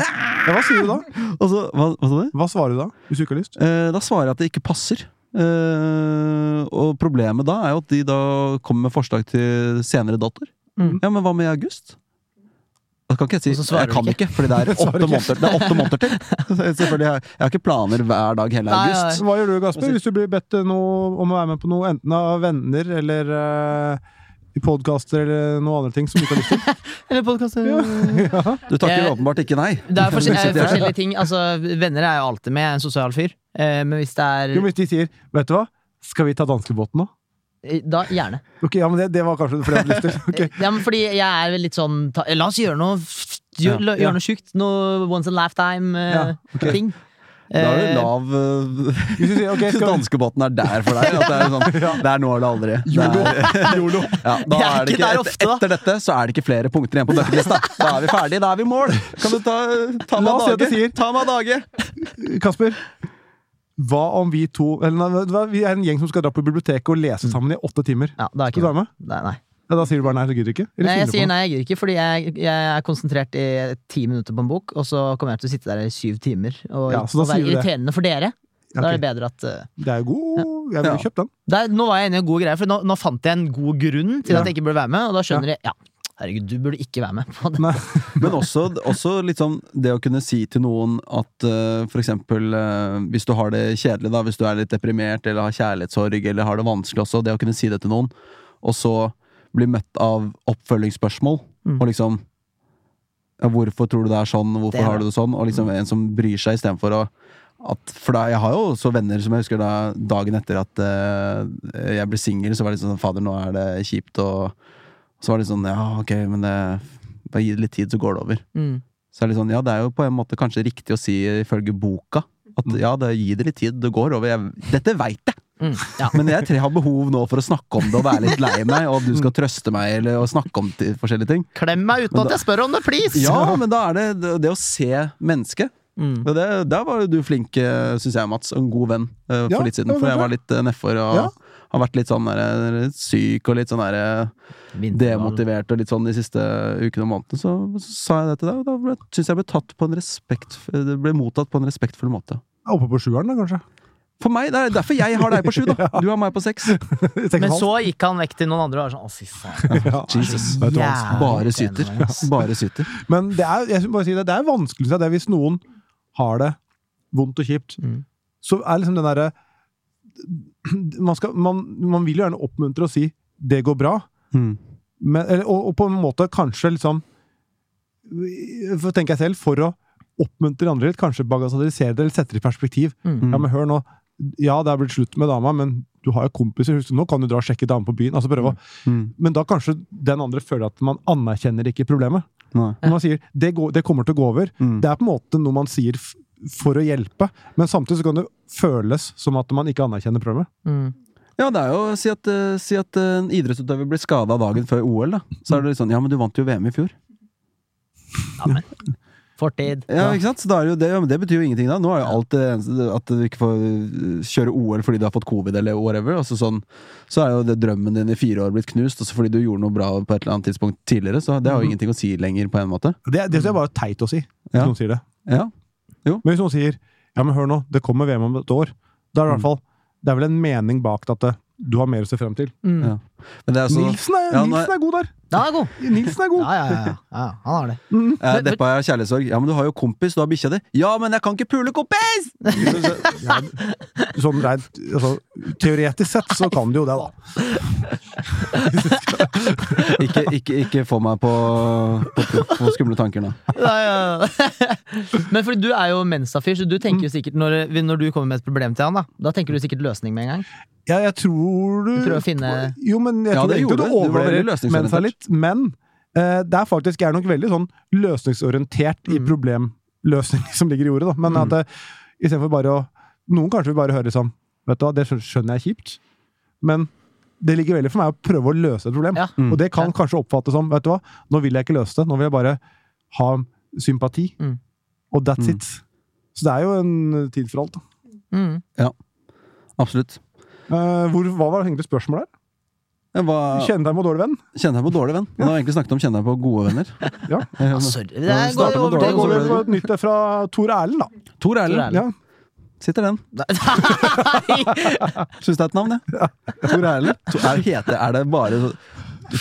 C: Hva sier du da?
B: Og så, hva, hva sa du?
C: Hva svarer du da, hvis du ikke har lyst?
B: Eh, da svarer jeg at det ikke passer. Eh, og problemet da er jo at de da kommer med forslag til senere datoer.
D: Mm.
B: Ja, men hva med i august? Da kan ikke jeg si
D: Og så svarer
B: jeg kan
D: du
B: ikke, fordi det er
C: Svarer
B: åtte
C: ikke.
B: måneder, det er åtte måneder til. Så jeg- Selvfølgelig, jeg, jeg har ikke planer hver dag hele
D: Nei,
B: august.
C: Hva gjør du,
D: Altså-
C: Gasper, hvis du blir bedt eh, noe, om å være med på noe, enten av venner eller eh, i podkaster eller noe andre ting som du ikke har lyst til?
D: Eller podkaster.
C: Ja.
B: Du takker
D: Eh,
B: åpenbart ikke nei.
D: Det er forskjell- eh,
B: Sitter jeg her.
D: forskjellige ting. Altså, venner er jo alltid med, jeg er en sosial fyr. Eh, Men hvis det
C: Jo, men
D: er
C: Hvis de sier 'Vet du hva, skal vi ta danskebåten nå?'
D: Eh, Da gjerne.
C: Ok, ja, men det, det var kanskje fordi jeg hadde lyst til. Ok.
D: Ja, men fordi jeg er litt sånn ta, La oss gjøre noe f-
B: Ja,
D: gjør, la-
C: ja.
D: gjøre noe sjukt. Noe once in a eh,
C: Ja,
D: lifetime-ting.
B: Da er det lav eh,
C: Hvis du sier ok, skal vi...
B: Danskebåten er der for deg. At det, er sånn, det er nå eller aldri. Det er,
C: Jolo.
B: ja, da
D: Jeg er
B: er det
D: ikke
B: ikke,
D: der
B: et,
D: ofte, da.
B: etter dette så er det ikke flere punkter igjen på bucketlista. Da er vi ferdige, da er vi i mål! Kan du ta, ta meg
C: La oss si
B: av
C: at
B: dage?
C: du sier-
B: Ta meg av dage!
C: Kasper, hva om vi to eller, nei, vet du hva, Vi er en gjeng som skal dra på biblioteket og lese sammen i åtte timer.
D: Mm. Ja, da er
C: Skal du
D: ikke
C: være med?
D: Nei, nei.
C: Ja, da sier du bare nei, du gidder ikke? Eller
D: nei,
C: finner du
D: jeg
C: på
D: sier
C: noe?
D: nei, jeg gidder ikke, fordi jeg, jeg er konsentrert i ti minutter på en bok, og så kommer jeg til å sitte der i syv timer og,
C: Ja, så da
D: og være
C: sier du det.
D: irriterende for dere. Da
C: Ok.
D: er det bedre at eh,
C: Det er jo god Jeg ville
B: Ja.
C: kjøpt den.
D: der, Nå var jeg inne i en god greie, for nå, nå fant jeg en god grunn til
C: Ja.
D: at jeg ikke burde være med, og da skjønner jeg ja, herregud, du burde ikke være med på det.
C: Nei.
B: Men også, også litt sånn det å kunne si til noen at eh, for eksempel eh, hvis du har det kjedelig, da, hvis du er litt deprimert eller har kjærlighetssorg eller har det vanskelig også, det å kunne si det til noen, og så bli møtt av oppfølgingsspørsmål
D: Mm.
B: og liksom ja, Hvorfor tror du det er sånn? Hvorfor
D: Det Mm. er
B: har du det sånn? Og liksom en som bryr seg istedenfor å at, for da, Jeg har jo også venner som jeg husker da dagen etter at eh, jeg ble singel, så var det litt sånn Fader, nå er det kjipt, og så var det sånn Ja, ok, men det, bare gi det litt tid, så går det over.
D: Mm.
B: Så er det litt sånn, ja, det er jo på en måte kanskje riktig å si ifølge boka. At ja, det gi det litt tid, det går over. Jeg, dette veit jeg!
D: Mm. Ja.
B: Men jeg tre har behov nå for å snakke om det og være litt lei meg, og at du skal trøste meg eller og snakke om t- forskjellige ting.
D: Klem meg uten
B: Men da-
D: at jeg spør om det, please!
B: Ja, men da er det det å se mennesket.
D: Mm.
B: Og det, der var du flink, syns jeg, Mats. og En god venn eh, for
C: Ja,
B: litt siden.
C: det var
B: For jeg
C: bra.
B: var litt eh, nedfor og
C: Ja.
B: har vært litt sånn der, eh, syk og litt sånn der, eh,
D: Vinterval.
B: demotivert og litt sånn de siste ukene og månedene. Så, så sa jeg det til deg, og da ble- syns jeg ble tatt på en respekt, eh, det ble mottatt på en respektfull måte.
C: Jeg er Oppe på sjueren, da, kanskje.
B: For meg, Det er derfor jeg har deg på sju, da! Du har meg på seks.
C: Seks og en
D: Men
C: halv.
D: så gikk han vekk til noen andre og var sånn Å, fy faen.
C: Ja.
B: Jesus.
C: Vet du hva?
D: Jævlig
B: Bare
D: irriterende,
B: syter.
D: ass.
B: Bare syter.
C: Men det er, jeg skal bare si det, det er vanskelig synes jeg, det hvis noen har det vondt og kjipt.
D: Mm.
C: Så er liksom den derre man, skal- man, man vil jo gjerne oppmuntre og si 'det går bra',
B: Mm.
C: men, eller, og, og på en måte kanskje liksom for, tenker jeg selv, for å oppmuntre andre litt, kanskje bagatellisere det eller sette det i perspektiv.
D: Mm.
C: Ja, men hør nå. Ja, det er blitt slutt med dama, men du har jo kompiser. Husk, nå kan du dra og sjekke dame på byen. altså prøve å
B: Mm.
C: Men da kanskje den andre føler at man anerkjenner ikke problemet.
B: Nei.
C: Når man sier det, går, 'det kommer til å gå over',
B: Mm.
C: det er på en måte noe man sier f for å hjelpe, men samtidig så kan det føles som at man ikke anerkjenner problemet.
D: Mm.
B: Ja, det er jo å si at, eh, si at eh, en idrettsutøver blir skada dagen før OL, da. Så er det litt sånn Ja, men du vant jo VM i fjor.
D: Fortid.
B: Ja, ikke sant? Så da er det, jo det, ja, men det betyr jo ingenting, da. Nå er jo alt det eneste At du ikke får øh, kjøre OL fordi du har fått covid eller whatever. Altså sånn, så er jo det drømmen din i fire år blitt knust, også fordi du gjorde noe bra på et eller annet tidspunkt tidligere. Så det har jo ingenting å si lenger, på en måte.
C: Det, det synes jeg bare er teit å si, hvis
B: Ja.
C: noen sier det.
B: Ja.
C: Men hvis noen sier 'ja, men hør nå, det kommer VM om et år', da
B: Mm.
C: er det i hvert fall Det er vel en mening bak det at det, du har mer å se frem til.
D: Mm.
B: Ja. Men det er så
C: Nilsen,
B: Altså,
C: er,
B: Ja, nå er-
C: Nilsen er god der!
D: Den er god!
C: Nilsen er god!
D: Ja, ja, ja, ja. ja. Han har det.
C: Mm.
B: jeg er deppa av kjærlighetssorg. Ja, men du har jo kompis, du har bikkja di. Ja, men jeg kan ikke pule kompis!
C: Sånn rent altså, teoretisk sett så kan du jo det, da.
B: Ikke, ikke, ikke få meg på, på, på skumle tanker nå.
D: Nei, ja, ja. Men fordi du er jo Mensa-fyr, så du tenker
B: Mm.
D: jo sikkert når, når du kommer med et problem til han, da, da tenker du sikkert løsning med en gang.
C: Ja, jeg tror du
D: Du prøver å finne-
C: Jo, men jeg
B: Ja,
C: tror
B: det
C: egentlig
B: gjorde du. Du var
C: du
B: veldig
C: overvurderer mensa
B: løsningsorientert.
C: litt. Men eh, det er faktisk, jeg er nok veldig sånn løsningsorientert i
D: Mm.
C: problemløsning som ligger i ordet. da. Men at
B: Mm.
C: eh, det, istedenfor bare å Noen kanskje vil bare høre sånn Vet du hva, det skjø- skjønner jeg er kjipt, men det ligger veldig for meg å prøve å løse et problem.
D: Ja.
B: Mm.
C: Og det kan kanskje oppfattes som Vet du hva, nå vil jeg ikke løse det. Nå vil jeg bare ha sympati.
D: Mm.
C: Og that's
B: Mm.
C: it. Så det er jo en tid for alt. da.
D: Mm.
B: Absolutt.
C: Eh, hvor, hva var egentlig spørsmålet der?
B: Jeg var,
C: Kjenner deg med dårlig venn?
B: kjenner jeg på dårlig venn. Men det var egentlig snakket om kjenner jeg på gode venner.
C: Ja.
B: Eh,
D: Ja,
B: men-
D: sorry. Det
B: Ja,
D: her
B: vi
D: går
B: starter
D: jo
B: med
D: over
C: Da
D: til
B: dårlig
C: går vi
B: Dårlig
D: Nei,
C: på et nytt fra Tor Erlend, da.
B: Tor Erlend.
D: Erlend.
C: Ja,
B: Sitter den. Syns det er et navn, jeg. Tor Erlend. To- Er, heter, er det bare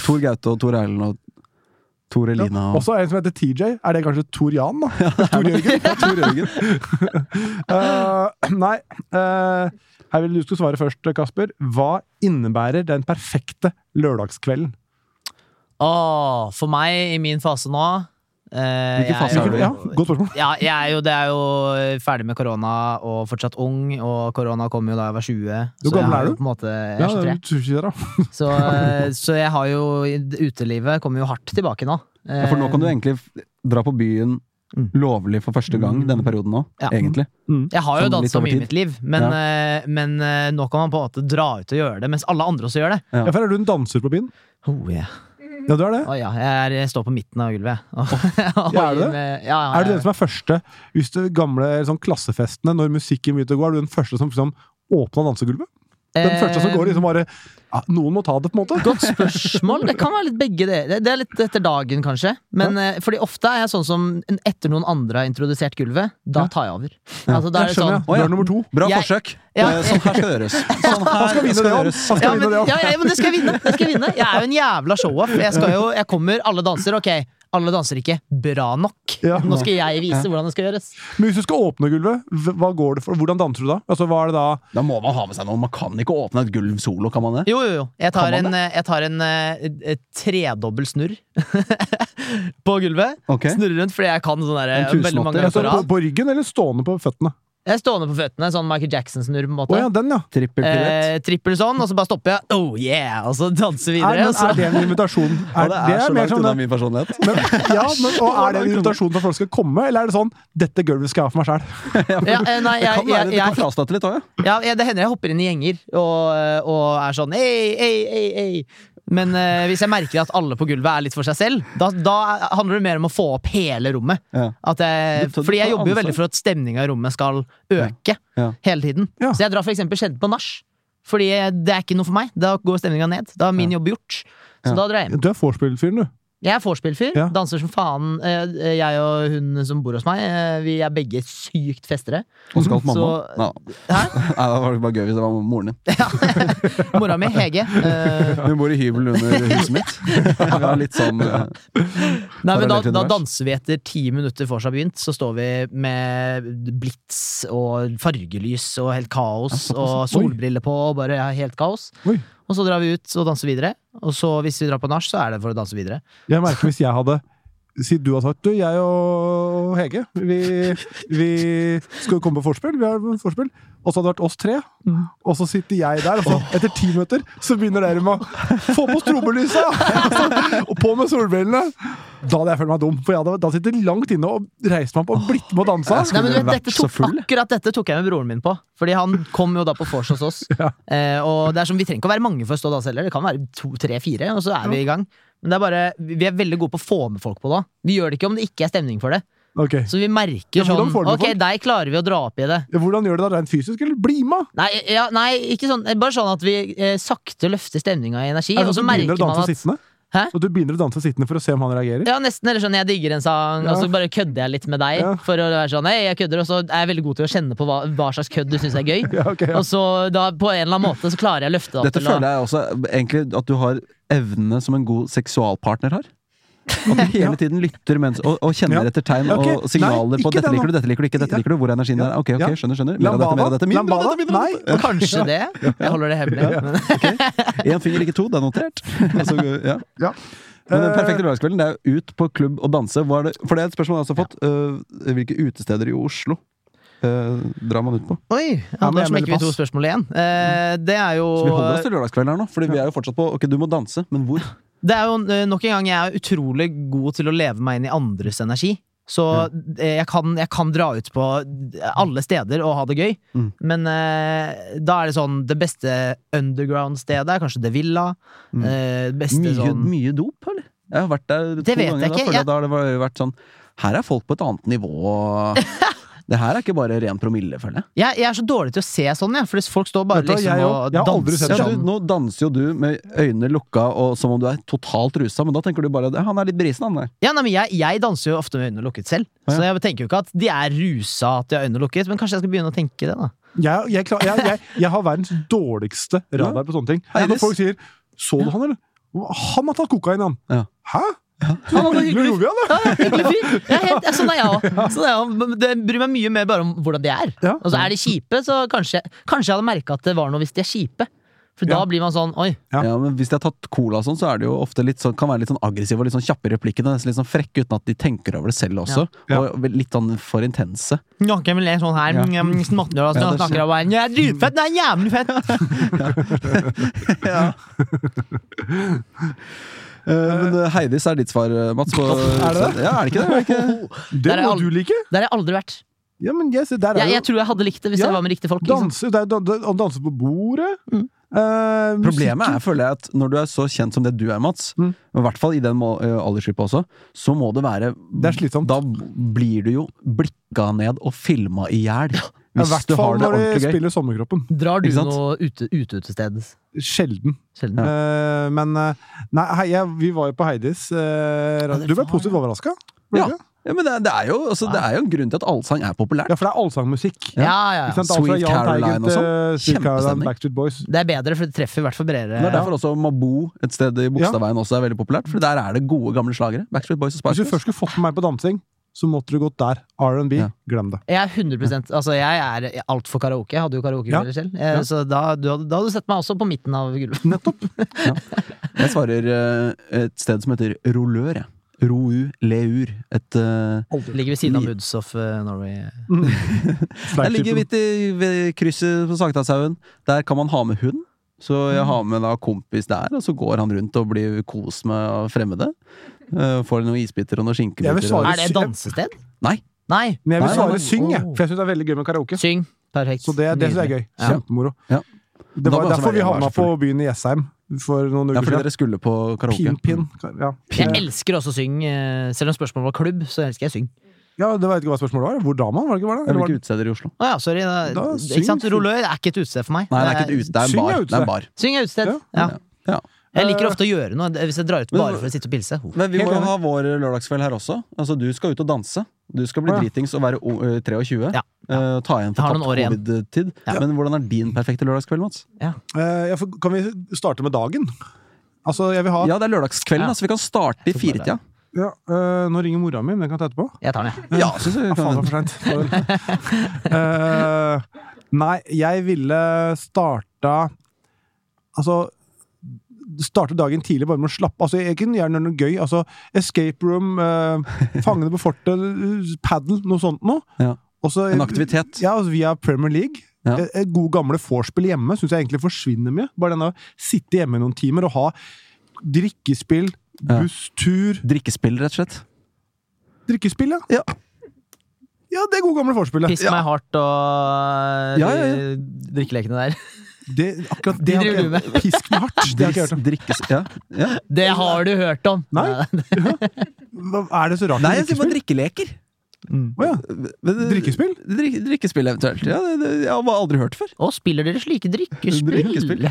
B: Tor Gaute og Tor Erlend og Tor Elina og
C: Også en som heter TJ. Er det kanskje Tor Jan, da? Tor Jørgen?
B: Ja, Tor Jørgen?
C: Eh, nei. eh, her vil du skal svare først, Kasper. Hva innebærer den perfekte lørdagskvelden?
D: Åh, for meg, i min fase nå eh,
B: Hvilken fase
D: jeg,
B: er du i?
D: jo-
C: Ja, godt spørsmål.
D: Ja, jeg er jo, det er jo ferdig med korona og fortsatt ung, og korona kom jo da jeg var 20.
C: Hvor
D: så jeg
C: gammel
D: har
C: er
D: jo
C: du?
D: På en måte, jeg
C: Ja,
D: er 23.
C: du sier det, da.
D: Så, eh, så jeg har jo Utelivet kommer jo hardt tilbake nå. Eh,
B: Ja, for nå kan du egentlig f- dra på byen
D: Mm.
B: lovlig for første gang denne perioden nå,
D: Ja.
B: egentlig.
D: Jeg har jo
B: Sånn litt
D: dansa
B: over
D: mye i
B: tid.
D: mitt liv, men, eh, men eh, nå kan man på en måte dra ut og gjøre det, mens alle andre også gjør det.
C: Ja, for er du en danser på byen?
D: Oh, yeah.
C: Ja, du er det.
D: Å, ja. jeg, er, jeg står på midten av gulvet.
C: Ja, er du det?
D: Med- Ja, ja,
C: Er du
D: ja.
C: den som er første hvis du gamle sånn, klassefestene, når musikken begynte å gå, er du den første som liksom, åpna dansegulvet? Den første som går liksom bare ja, Noen må ta det, på en måte.
D: Eh, Godt spørsmål. Det kan være litt begge det. Det- Det er litt etter dagen, kanskje. Men eh, fordi ofte er jeg sånn som en- etter noen andre har introdusert gulvet, da tar jeg over. Altså, da er
C: Jeg
D: det
C: skjønner,
D: sånn
C: ja. Du er nummer to.
B: Bra
D: Jeg-
B: forsøk!
D: Ja.
B: Eh, Sånn her skal det gjøres. Sånn her
C: skal
B: skal
C: vinne det,
B: det
C: han.
B: gjøres.
C: Han skal
D: ja,
C: vinne
D: men,
C: det,
D: ja, ja, men det skal jeg vinne! Det skal jeg vinne Jeg er jo en jævla show-off. Jeg, skal jo- jeg kommer, alle danser, ok. Alle danser ikke bra nok.
C: Ja.
D: Nå skal jeg vise hvordan det skal gjøres.
C: Men hvis du skal åpne gulvet, hv- hva går det for? hvordan danser du da? Altså, hva er det da?
B: Da må man ha med seg noe. Man kan ikke åpne et gulv solo, kan man det?
D: Jo, jo, jo. Jeg tar
B: Kan man
D: en, eh, jeg tar en eh, eh, tredobbel snurr på gulvet.
B: Ok.
D: Snurrer rundt fordi jeg kan sånn der,
B: En tusenåtter,
D: veldig mange ganger
C: Altså,
D: på
C: på,
D: rad.
C: på ryggen eller stående på føttene?
D: Jeg er stående på føttene, sånn Michael Jackson-snurr. på en
C: Å
D: måte
C: ja, den, ja.
B: Trippel pilett.
D: eh, trippel sånn, og så bare stopper jeg. Oh yeah! Og så danser vi
C: Er,
D: videre.
C: men,
D: og så-
C: er det en invitasjon?
B: altså. Ja,
C: Er,
B: det er
C: det
B: så
C: er mer
B: langt
C: sånn
B: unna
C: den,
B: min personlighet.
C: men, ja, men, og er det en invitasjon for at folk skal komme, eller er det sånn 'dette gulvet skal jeg ha for meg sjæl'?
D: Ja, eh, nei,
B: Det
D: jeg,
B: kan
D: jeg,
B: være,
D: jeg,
B: du kan frastøte litt òg, ja.
D: ja, jeg, det hender jeg hopper inn i gjenger og, og er sånn ei, ei, ei, ei. Men eh, hvis jeg merker at alle på gulvet er litt for seg selv, da, da handler det mer om å få opp hele rommet.
B: Ja.
D: At jeg,
B: Du tar- du
D: fordi jeg
B: tar
D: jobber jo
B: ansvar.
D: veldig for at stemninga i rommet skal øke
B: Ja.
D: hele tiden.
C: Ja.
D: Så jeg drar for eksempel sjelden på nach. Fordi det er ikke noe for meg. Da går stemninga ned. Da er min jobb gjort. Så
B: Ja.
D: da drar jeg hjem.
C: Du er vorspiel-fyren, du.
D: Jeg er vorspiel-fyr.
C: Ja.
D: Danser som faen. Eh, Jeg og hun som bor hos meg, eh, vi er begge sykt festere.
B: Og skal mamma?
D: Så-
B: Nei.
D: Hæ?
B: Nei, det var bare gøy hvis det var moren din.
D: Mora mi, Hege. eh,
B: Hun bor i hybel under huset mitt. Vi har litt sånn eh,
D: Nei, men da,
B: Parallelt
D: da
B: univers.
D: danser vi etter ti minutter for seg har begynt. Så står vi med blits og fargelys og helt kaos.
C: Ja, såpass.
D: Og
C: Oi.
D: solbriller på og bare ja, helt kaos.
C: Oi.
D: Og så drar vi ut og danser videre. Og så hvis vi drar på nach, så er det for å danse videre.
C: Jeg merker hvis jeg hadde Si du har sagt du, jeg og Hege Vi, vi skal komme på forspill. Vi har forspill. Og så hadde det vært oss tre, og så sitter jeg der. Og så, etter ti minutter så begynner dere med å få på strobelysa! Altså, Og på med solbrillene! Da hadde jeg følt meg dum, for jeg hadde da sittet langt inne og reist meg opp og blitt med og dansa.
D: Nei, men du vet,
B: vært
D: dette
B: så
D: tok,
B: full?
D: akkurat dette tok jeg med broren min på. Fordi han kom jo da på vors hos oss. Eh, og det er som, Vi trenger ikke å være mange for å stå og danse heller. Det kan være to, tre, fire, og så er vi i gang. Men det er bare, vi er veldig gode på å få med folk på det. Vi gjør det ikke om det ikke er stemning for det.
C: Ok,
D: Så vi merker
C: Ja, hvordan
D: sånn
C: får du
D: Ok,
C: folk?
D: deg klarer vi å dra opp i det.
C: Hvordan gjør du det da, rent fysisk? Eller bli med!
D: Nei, ja, nei ikke sånn bare sånn at vi eh, sakte løfter stemninga i energi.
C: Er
D: Og
C: det
D: så
C: sånn at du
D: merker
C: begynner å danse
D: man at
C: sittende?
D: Hæ?
C: At du begynner å danse sittende for å se om han reagerer?
D: ja, nesten, eller sånn, Jeg digger en sang, og så
C: Ja.
D: bare kødder jeg litt med deg.
C: Ja.
D: For å være sånn, hei, jeg kødder Og så er jeg veldig god til å kjenne på hva, hva slags kødd du syns er gøy.
C: Ja, ok, ja.
D: Og så da på en eller annen måte så klarer jeg å løfte det opp.
B: Dette føler jeg også egentlig at du har evnene som en god seksualpartner har. At du hele tiden lytter mens, og, og kjenner
C: Ja.
B: etter tegn
C: Ja, ok.
B: og signaler
C: Nei,
B: på
C: ikke
B: 'dette
C: det nå.
B: liker du, dette liker du ikke', dette
C: Ja.
B: liker du, hvor er energien der? Ok,
C: Ja.
B: ok, skjønner, skjønner. Mer av dette, mer av
C: Lambada?
B: dette. Min, mer av
C: Lambada?
B: dette, min, av
C: Nei?
B: dette.
D: Kanskje det. Jeg holder det hemmelig. Men,
B: Én finger, ikke to. Det er notert. Altså, ja.
C: Ja.
B: Men den
D: Eh,
B: perfekte lørdagskvelden det er ut på klubb og danse. Hva er det? For det er et spørsmål jeg også har fått. Øh, hvilke utesteder i Oslo øh, drar man ut på?
D: oi,
C: Ja, men
D: Anders
C: jeg melder
D: smekker vi to
C: pass.
D: spørsmål igjen. Eh, det er jo
B: Så vi holder oss til lørdagskvelden her nå, Fordi vi er jo fortsatt på Ok, du må danse, men hvor?
D: Det er jo eh, nok en gang jeg er utrolig god til å leve meg inn i andres energi. Så eh, jeg, kan, jeg kan dra ut på alle steder og ha det gøy.
B: Mm.
D: Men eh, da er det sånn Det beste underground-stedet er kanskje The Villa.
B: Mm.
D: Eh, det beste
B: Mye,
D: sånn
B: mye dop, eller? Jeg har vært der to
D: Det vet jeg
B: ganger.
D: ikke,
B: Da, føler jeg, da har det vært- vært sånn Her er folk på et annet nivå. Det her er ikke bare ren promille, føler jeg.
D: jeg, jeg er så dårlig til å se sånn, jeg. For folk står bare
C: Vet du hva,
D: liksom
C: jeg
D: og
C: òg. Jeg har aldri
D: danser
C: sett
B: Ja,
C: sånn.
B: du, nå danser jo du med øynene lukka og som om du er totalt rusa, men da tenker du bare at han er litt brisen, han der.
D: Ja, nei, men jeg, jeg danser jo ofte med øynene lukket selv.
B: Ja.
D: Så jeg tenker jo ikke at de er rusa at de har øynene lukket, men kanskje jeg skal begynne å tenke det, da.
C: Jeg, jeg, klar, jeg, jeg, jeg har verdens dårligste radar på sånne ting.
B: Hei,
C: Når
B: Liss.
C: folk sier 'så du han', eller? Han har tatt kokain, han!
B: Ja.
C: Hæ? Så
D: Han hadde
C: hyggelig gjorde vi han, da!
D: Ja, hyggelig fyr. Jeg er helt, sånn er jeg òg. Sånn er jeg også. Men det bryr meg mye mer bare om hvordan de er.
C: Ja.
D: Og så er de kjipe, så kanskje, kanskje jeg hadde merka at det var noe hvis de er kjipe. For da
C: Ja.
D: blir man sånn oi.
C: Ja.
B: Ja. men Hvis de har tatt cola og sånn, så er det jo ofte litt sånn, kan være litt sånn aggressive og litt sånn kjappe i replikkene. Nesten litt sånn frekke uten at de tenker over det selv også.
C: Ja.
B: Og litt sånn for intense.
D: Noen vil le sånn her.
B: Ja.
D: mm, mm, smattende, og
B: Ja, det
D: snakker om «Jeg er dritfett, det er jævlig fett!
B: Eh, men eh, Heidis er ditt svar, eh, Mats. På,
C: Er det det?
B: Ja, er det ikke det? Er det ikke?
C: Det
D: Der er
C: må
D: alt-
C: du like!
D: Der har jeg aldri vært.
C: Ja, men yes, der er
D: Jeg, jeg
C: jo
D: tror jeg hadde likt det hvis
C: Ja.
D: jeg var med riktige folk. Liksom.
C: danse, det er, dan- dan- Han danser på bordet.
D: Mm.
C: Eh,
B: Problemet er, føler jeg, at når du er så kjent som det du er, Mats,
C: Mm.
B: og i hvert fall i den må- eh, aldersgruppa også, så må det være
C: Det er slitsomt.
B: Da blir du jo blikka ned og filma i hjel.
C: I
B: Hvis
C: hvert
B: du
C: fall
B: har det
C: når de
B: ordentlig gøy.
C: spiller Sommerkroppen.
D: Drar du
B: Ikke sant?
D: noe ute- uteutested?
C: Sjelden.
D: Sjelden.
C: Eh, men eh, Nei, hei, jeg, vi var jo på Heidis. eh,
D: dere
C: du ble
D: var
C: positivt
D: det.
C: overraska?
B: Ja. Ja, men det, det, er jo, altså, det er jo en grunn til at allsang er populært.
C: ja, for det er allsangmusikk.
D: Ja, ja,
C: Ikke
D: ja.
C: sant? Alt fra
B: Sweet
C: Jahn
B: Caroline
C: Teigen
B: og
C: til
B: sånn.
C: Sweet Caroline,
B: Kjempestemning.
C: Backstreet Boys.
D: Det er bedre, for det treffer i hvert fall
B: Det er
D: bredere.
B: derfor også Mabo, et sted i Bogstadveien, også er veldig populært. For der er det gode, gamle slagere. Backstreet Boys og Spice
C: Hvis du
B: Girls.
C: først skulle fått med meg på dansing, så måtte du gått der. R&B,
B: Ja.
C: glem det.
D: Jeg er 100 Altså, jeg er altfor karaoke. Jeg hadde jo karaokekvelder selv. Eh,
C: Ja.
D: Så da, du hadde, da hadde du sett meg også på midten av gulvet.
B: Jeg svarer eh, et sted som heter Rolør, jeg. Rou Leur. Et eh,
D: Ligger ved siden av
B: Li-
D: Moods of eh, Norway.
B: Jeg ligger
C: Flagshipen.
B: midt i ved krysset på Sankthanshaugen. Der kan man ha med hund. Så jeg har med da kompis der, og så går han rundt og blir kost med fremmede. Eh, får noen isbiter og noen
C: Jeg vil
B: skinkebiter.
C: svare-
B: og-
D: Er det et dansested?
B: Nei.
D: Nei.
C: Men jeg vil
B: Nei,
C: svare
D: nei,
C: syng, jeg.
D: oh.
C: For jeg syns det er veldig gøy med karaoke.
D: Syng. Perfekt.
C: Så det, det synes jeg er gøy.
B: Ja.
C: Kjempemoro.
B: Ja.
C: Det
B: Da
C: var
B: må jeg også
C: derfor vi
B: være-
C: havna
B: være så
C: på
B: full.
C: byen i Jessheim. for noen
B: Ja,
C: uker
B: fordi
C: siden.
B: dere skulle på karaoke.
C: Pin-pin. Ja.
D: Jeg elsker også å synge. eh, Selv om spørsmålet var klubb, så elsker jeg å synge.
C: ja, det var ikke hva spørsmålet var. Hvor dama var det ikke? Var det?
B: Ja,
C: Eller
B: Hvilke
C: var det?
B: utesteder i Oslo?
D: Å ja, sorry. Da,
C: Da syng.
D: ikke sant? Rullør er ikke et utested for meg.
B: Nei, det er ikke et ut, det er en
C: Syng
B: bar. Det
C: er
B: er
C: utested.
B: en bar.
D: Syng er utested. Ja.
B: Ja.
D: Jeg liker ofte å gjøre noe hvis jeg drar ut
B: Men-
D: bare for å sitte og pilse. Ho.
B: Men vi
C: Helt
B: må jo
C: enig.
B: ha vår lørdagskveld her også. Altså, du skal ut og danse. Du skal bli
C: Å, ja.
B: dritings og være o- ø, 23.
D: Ja.
B: Eh, ta igjen
D: Jeg har
B: for
D: noen år
B: tapt
D: igjen.
B: covid-tid.
D: Ja.
B: Men hvordan er din perfekte lørdagskveld, Mats?
C: Eh, ja, for, kan vi starte med dagen? Altså, jeg vil ha ja.
B: Ja, det er lørdagskvelden,
D: Ja.
B: altså. Vi kan starte i
D: Så bare-
B: firetida.
C: eh, Nå ringer mora mi, men den kan jeg ta etterpå.
D: Jeg tar den, jeg.
B: Ja, synes jeg
C: Ja,
B: vi
C: faen,
B: kan
C: det var for seint. Eh, nei, jeg ville starta Altså Starte dagen tidlig bare med å slappe Altså, Jeg kunne gjerne gjøre noe gøy. Altså, Escape room, eh, Fangene på fortet, padel, noe sånt noe.
B: Ja.
C: Og så-
B: En aktivitet.
C: Ja, altså, via Premier League.
B: Ja.
C: Eh, eh, Gode gamle vorspiel hjemme syns jeg egentlig forsvinner mye. Bare den å sitte hjemme i noen timer og ha drikkespill,
B: Ja.
C: busstur
B: Drikkespill, rett og slett.
C: Drikkespill, ja.
B: Ja.
C: Ja, det er gode gamle vorspielet.
D: Piss meg hardt og
B: Ja, ja, ja.
D: eh, drikkelekene der.
C: Det, akkurat
D: De
C: det har
D: driver
C: ikke jeg hørt. Pisk med hardt. Det har ikke jeg hørt om.
B: Drikkes... Ja. ja.
D: Det har du hørt om!
C: Nei. Hva- Er det så rart?
B: Nei,
C: med
B: jeg sier bare
C: drikkespill?
B: drikkeleker.
C: Å ja.
B: Men-
C: Drikkespill?
B: Drik- drikkespill, eventuelt. Ja, det, det, jeg har bare aldri hørt før.
D: Og spiller dere slike drikkespill?
B: Drikkespill.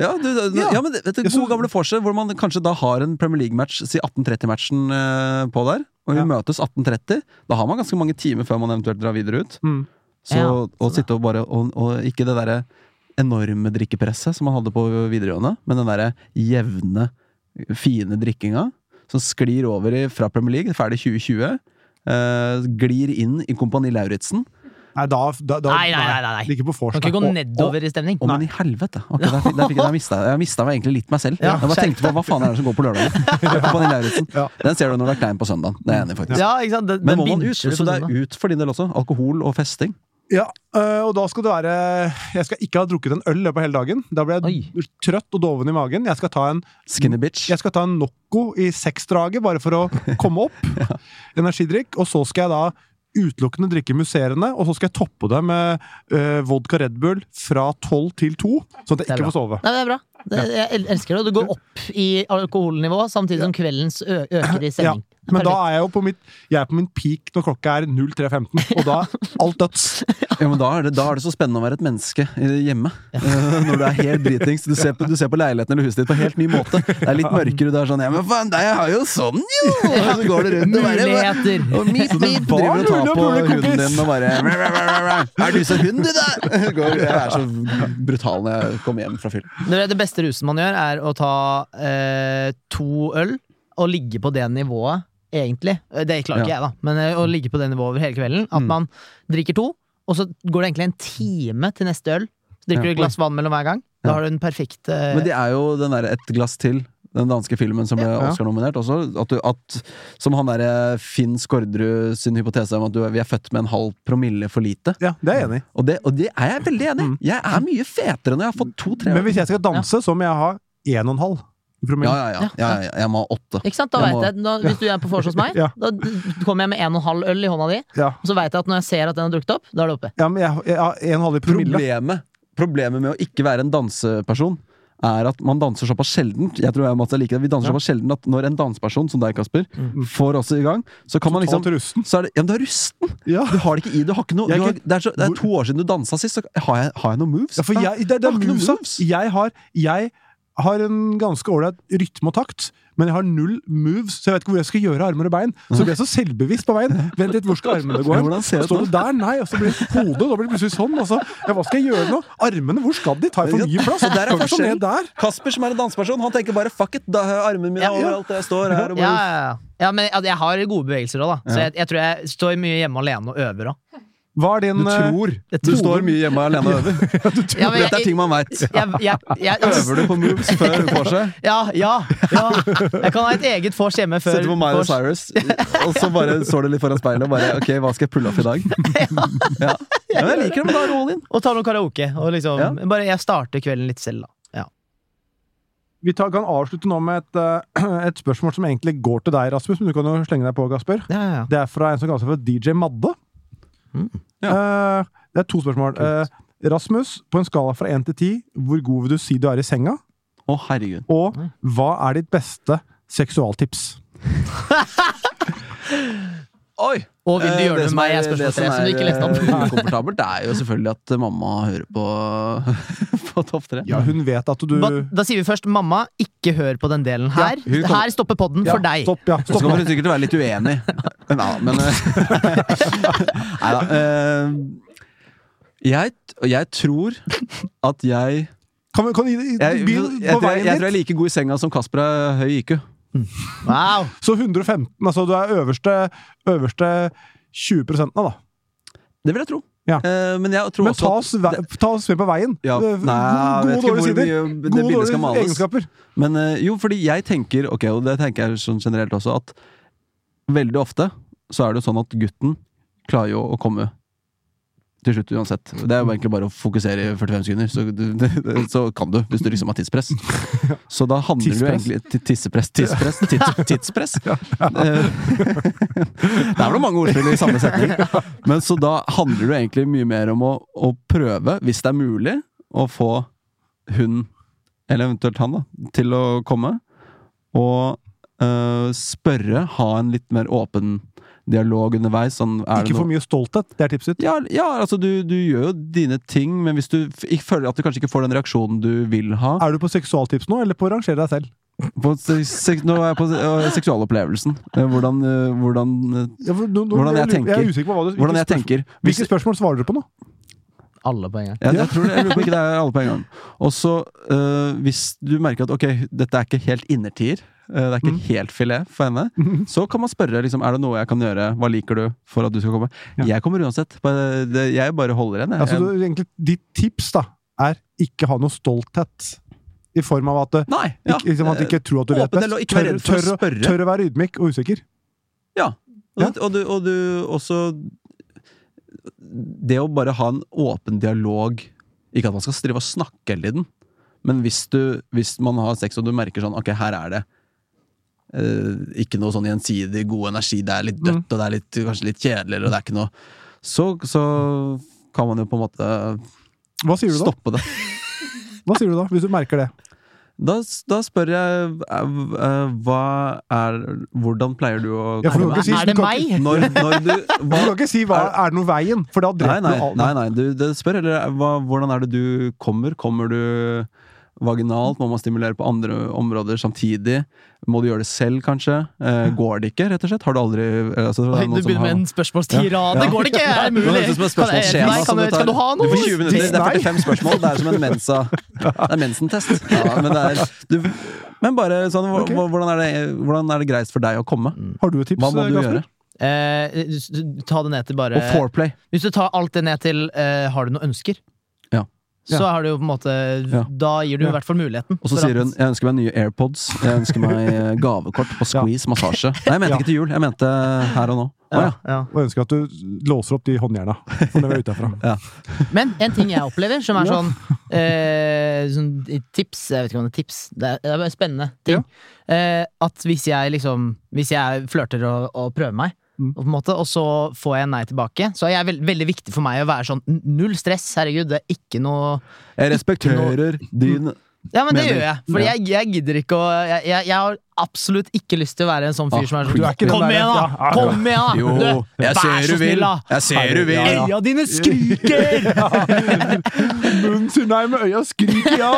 B: Ja, du, du, ja.
C: Ja.
B: men det- vet du,
C: Jeg så-
B: Gode gamle vorse, hvor man kanskje da har en Premier League-match, si 1830-matchen eh, på der, og vi
C: Ja.
B: møtes 1830. Da har man ganske mange timer før man eventuelt drar videre ut.
C: Mm.
B: Så
D: Ja,
B: å sitte og bare og, og ikke det derre enorme drikkepresset som man hadde på videregående, men den derre jevne, fine drikkinga som sklir over i, fra Premier League, ferdig 2020, eh, glir inn i Kompani Lauritzen.
C: Nei, da, da, da
D: Nei, nei, nei, nei, nei.
C: Ligger på vors,
D: Kan ikke
C: da.
D: gå
C: Og-
D: nedover i stemning.
B: Å, men i helvete! Ok, der, fikk- der fikk jeg, der mistet, jeg mista meg egentlig litt meg selv.
D: Ja,
B: jeg bare tenkte på hva faen er det som går på lørdagen? Kompani Lauritzen.
C: Ja.
B: Den ser du når du er klein på søndagen. Det er jeg enig i, faktisk.
D: Ja, ikke sant? Den,
B: Men
D: den
B: må man ut?
D: binger du
B: Så
D: på
B: det er
D: sånn, da.
B: ut for din del også? Alkohol og festing?
C: Ja, øh, og da skal det være Jeg skal ikke ha drukket en øl i løpet av hele dagen. Da blir jeg
D: Oi.
C: trøtt og doven i magen. Jeg skal ta en,
B: Skinny bitch?
C: jeg skal ta en Nocco i seksdraget bare for å komme opp. Energidrikk. Og så skal jeg da utelukkende drikke musserende, og så skal jeg toppe det med øh, vodka Red Bull fra tolv til to, sånn at
D: Det er
C: jeg ikke
D: bra.
C: får sove.
D: Nei, det er bra. Det, jeg el- elsker det. og Du går opp i alkoholnivå samtidig som kveldens ø øker i stemning.
C: Ja, men da er jeg jo på mitt Jeg er på min peak når klokka er 03.15, og da er alt døds.
B: Ja, men da er, det, da er det så spennende å være et menneske eh, hjemme. Eh, Når du er helt dritings. Du ser, på, du ser på leiligheten eller huset ditt på helt ny måte. Det er litt mørkere. Du er sånn Ja, men faen, deg har jo sånn, jo! Og så går det rundt og bare
D: Muligheter!
B: og mip, mip, driver og tar
C: mulig å
B: på
C: pule, kompis.
B: hunden din og bare Er du så hund, du, da? Går, jeg er så brutal når jeg kommer hjem fra fyll.
D: Det, det beste rusen man gjør, er å ta eh, to øl og ligge på det nivået, egentlig. Eh, Det klarer ikke jeg, da, men eh, å ligge på det nivået over hele kvelden. At
B: Mm.
D: man drikker to, og så går det egentlig en time til neste øl. Så drikker
B: Ja.
D: du et glass vann mellom hver gang.
B: Ja.
D: Da har du den perfekte
B: Men det er jo den derre Et glass til. Den danske filmen som ble
C: Ja.
B: Oscar-nominert også. At du, at, som han derre Finn Skårderud sin hypotese om at du, vi er født med en halv promille for lite.
C: Ja, det er jeg enig i.
B: Og det, og det er jeg veldig enig i. Jeg er mye fetere når jeg har fått to-tre
C: Mm. Men hvis jeg skal danse, så må jeg ha 1,5 i
B: Ja,
C: promille.
B: ja, ja, ja, ja. Jeg må ha åtte.
D: Ikke sant? Da
B: Jeg
D: vet
B: må-
D: jeg, da, Hvis du er på vors hos meg,
C: Ja.
D: da d- kommer jeg med en og en halv øl i hånda di.
C: Ja.
D: Og så veit jeg at når jeg ser at den har drukket opp, da er det oppe.
C: Ja, men jeg, jeg har 1,5 i promille.
B: Problemet, problemet med å ikke være en danseperson er at man danser såpass sjeldent. Jeg tror jeg og Mats er like det. Vi danser
C: Ja.
B: såpass sjelden at når en danseperson som deg, Kasper,
D: Mm.
B: får oss i gang, så kan man liksom
C: Totalt rusten.
B: så er det, ja, men du er rusten!
C: Ja.
B: Du har det ikke i du har ikke noe,
C: Jeg
B: du
C: er
B: har,
C: ikke-
B: det, er så, det er to år siden du dansa sist, så har jeg, har jeg noen moves?
C: Ja, for jeg, det, det
B: Jeg har
C: er
B: ikke noen
C: movesa.
B: moves.
C: Jeg har, jeg har en ganske ålreit rytme og takt, men jeg har null moves, så jeg vet ikke hvor jeg skal gjøre armer og bein. Så blir jeg så selvbevisst på veien. Vent litt, hvor skal armene gå?
B: Ja,
C: hen?
B: hvordan ser det ut
C: Står du der? Nei. Og så blir det hodet, og da blir det plutselig sånn. Og så, ja, hva skal jeg gjøre nå? Armene, hvor skal de? Tar jeg for mye plass?
B: Og der er
C: Kan ikke stå
B: forskjellen.
C: ned der.
B: Kasper, som er en danseperson, han tenker bare 'fuck it', da har jeg armene mine
D: Ja, ja.
B: overalt, og jeg står her og
D: Ja,
B: bare
D: ja, ja. ja men jeg, jeg har gode bevegelser òg, da. Så jeg, jeg tror jeg står mye hjemme alene og øver òg.
C: Hva er din
B: Du
C: eh,
B: tror.
D: Jeg
B: Du
D: tror-
B: står mye hjemme alene og øver.
D: Ja, men
B: Dette er
D: jeg-
B: ting man veit.
D: jeg- jeg- jeg-
B: Øver du på moves før for seg?
D: Ja, ja, ja. Jeg kan ha et eget vors hjemme før
B: Setter på Miley
D: vors.
B: Cyrus, og så bare står du litt foran speilet og bare Ok, hva skal jeg pulle off i dag? Ja, ja men Jeg liker det, men da er det all in.
D: Og tar noe karaoke. Og liksom,
B: Ja.
D: Bare jeg starter kvelden litt selv, da. Ja.
C: Vi tar, kan avslutte nå med et, eh, et spørsmål som egentlig går til deg, Rasmus, men du kan jo slenge deg på, Kasper.
D: Ja, ja, ja.
C: Det er fra en som kaller seg for DJ Madde.
D: Mm.
C: Eh, det er to spørsmål. Eh, Rasmus, på en skala fra 1 til 10, hvor god vil du si du er i senga?
B: Å, herregud.
C: Og hva er ditt beste seksualtips?
B: Oi!
D: Og
B: Eh,
D: vil du gjøre det med meg? er spørsmål tre, som du ikke leste opp.
B: Ukomfortabelt er jo selvfølgelig at mamma hører på, på Topp tre.
C: Ja, hun vet at du
D: Ba, da sier vi først mamma, ikke hør på den delen her.
B: hun kommer-
D: her stopper podden for deg.
C: Stopp, ja.
B: Så
C: Stopp.
B: kan man sikkert være litt uenig. Nei da, men eh, Nei da. eh, Jeg, jeg tror at jeg jeg,
C: Kan, vi- kan vi-
B: jeg, tror
C: begynn på
B: jeg, jeg
C: veien
B: tror jeg er
C: dit.
B: like god i senga som Kasper er høy i IQ.
D: Wow.
C: Så 115, altså du er øverste, øverste 20 prosentene, da.
B: Det vil jeg tro.
C: Ja.
B: Eh, men jeg tror
C: Men ta
B: også
C: oss, ve- ta oss med på veien.
B: ja,
C: Eh,
B: Nei, jeg vet
C: Gode og
B: ikke
C: dårlige
B: hvor
C: sider.
B: mye det
C: Gode og
B: bildet skal
C: dårlige
B: males.
C: egenskaper.
B: Men eh, jo, fordi jeg tenker Ok, og det tenker jeg sånn generelt også At veldig ofte Så er det jo sånn at gutten Klarer jo å komme Til slutt uansett Det er jo egentlig bare å fokusere i 45 sekunder Så, du, så kan du Hvis du liksom har tidspress Så da handler det jo
C: Tidspress?
B: egentlig ti- Tissepress, tidspress, tids, tidspress Eh, Det er vel mange ordspill i samme setning Men så da handler det jo egentlig mye mer om å, å prøve Hvis det er mulig Å få hun eller eventuelt han, da, til å komme. Og øh, spørre, ha en litt mer åpen dialog underveis. Sånn, er det
C: Ikke for
B: noe-
C: mye stolthet, det er tipset ditt.
B: Ja, ja, altså du, du gjør jo dine ting, men hvis du f ikke føler at du kanskje ikke får den reaksjonen du vil ha
C: Er du på seksualtips nå, eller på å rangere deg selv?
B: på se sek- Nå er jeg på se øh, seksualopplevelsen. Eh, Hvordan, øh, hvordan, øh,
C: Ja, for nå- nå-
B: Hvordan jeg
C: lurer- jeg er
B: tenker.
C: usikker på hva du
B: hvordan jeg
C: hvilke
B: tenker.
C: spørsmål- Hvilke spørsmål svarer dere på nå?
D: Alle på en gang.
B: Jeg, jeg tror det, jeg lurer på ikke det er alle på en gang. Og så, øh, hvis du merker at ok, dette er ikke helt innertier, øh, det er ikke
C: Mm.
B: helt filet for henne, så kan man spørre liksom, er det noe jeg kan gjøre, hva liker du for at du skal komme. Jeg kommer uansett. bare- det- Jeg bare holder igjen. jeg.
C: Altså, du, egentlig, ditt tips da, er ikke ha noe stolthet. I form av at eh,
B: Nei! Ja.
C: ikke, liksom, at ikke tro at du vet
B: Åpen del
C: best.
B: og ikke være redd for å
C: Tør- tør å-
B: spørre.
C: Tør å være ydmyk og usikker.
B: Ja.
C: Ja.
B: Og, du- og, du, og du også Det å bare ha en åpen dialog Ikke at man skal drive og snakke hele tiden, men hvis, du, hvis man har sex og du merker sånn Ok, her er det eh, ikke noe sånn gjensidig god energi, det er litt
C: Mm.
B: dødt og det er litt, kanskje litt kjedelig, eller det er ikke noe så, så kan man jo på en måte
C: Hva sier du da?
B: stoppe det.
C: Hva sier du da, hvis du merker det?
B: Da, da spør jeg eh, eh, hva er Hvordan pleier du å
C: Ja, for du
B: komme
C: kan ikke si-
D: Er det
C: du kan
D: meg?
B: når, når du
C: Du
B: hva,
C: kan ikke si hva, 'er det noe veien', for da
B: Nei,
C: dreper
B: nei,
C: du alt.
B: nei, nei du, det spør eller hva, hvordan er det du kommer? Kommer du vaginalt? Må man stimulere på andre områder samtidig? Må du gjøre det selv, kanskje? Eh, går det ikke, rett og slett? Har du aldri eh, altså, det er
D: Oi,
B: noen
D: du
B: som
D: begynner
B: har-
D: med en spørsmålstirade.
B: Ja.
D: Går det ikke? Er det
B: Det
D: mulig?
B: høres ut som et
D: Kan jeg-
B: spørsmålsskjema
D: Nei,
B: som
D: kan,
B: du
D: du-
B: tar-
D: skal du ha
B: Du
D: noe?
B: får 20 minutter, det er
C: Nei.
B: 45 spørsmål. Det er som en mensa Det er mensentest. Ja, men, det er, du, men bare sånn, hvor-
C: Ok.
B: hvor- hvordan er, det, hvordan er det greit for deg å komme?
C: Har du et tips,
B: Hva må du
C: Gasper?
B: gjøre?
D: Eh, s- ta det ned til bare
B: Og foreplay.
D: Hvis du tar alt det ned til eh, har du noen ønsker,
B: Ja.
D: så
C: Ja.
D: har du jo på en måte
B: Ja.
D: Da gir du i hvert fall muligheten.
B: Og så
D: for
B: sier
D: at-
B: hun jeg ønsker meg nye AirPods, jeg ønsker meg eh, gavekort på Squeeze massasje. Nei, jeg mente
C: Ja.
B: ikke til jul, jeg mente her og nå. Å, ja.
D: ja.
C: Og ønsker at du låser opp de håndjerna. For det var ute herfra.
D: Men en ting jeg opplever, som er
C: Ja.
D: sånn, eh, sånn tips Jeg vet ikke om det er tips. Det er, det er bare spennende ting. Eh, at hvis jeg liksom Hvis jeg flørter og, og prøver meg,
C: Mm.
D: og, på en måte, og så får jeg nei tilbake, så er det veld, veldig viktig for meg å være sånn n- null stress. Herregud, det er ikke noe
B: Jeg respekterer din
D: Ja, men det
B: Mener.
D: gjør jeg. For
B: Ja.
D: jeg, jeg gidder ikke å jeg, jeg, jeg har absolutt ikke lyst til å være en sånn
B: Ah,
D: fyr som er
B: du
D: sånn
B: er ikke den
D: Kom
C: der-
D: igjen,
C: ja,
D: da!
C: ja,
D: Kom igjen,
B: Jo,
D: da! Du,
B: jeg
D: vær
B: ser du
D: så
B: vil!
D: snill, da!
B: Jeg ser du
C: Ja,
B: vil!
C: ja.
D: Øya dine skriker!
C: Munnen sier nei, med øya skriker ja!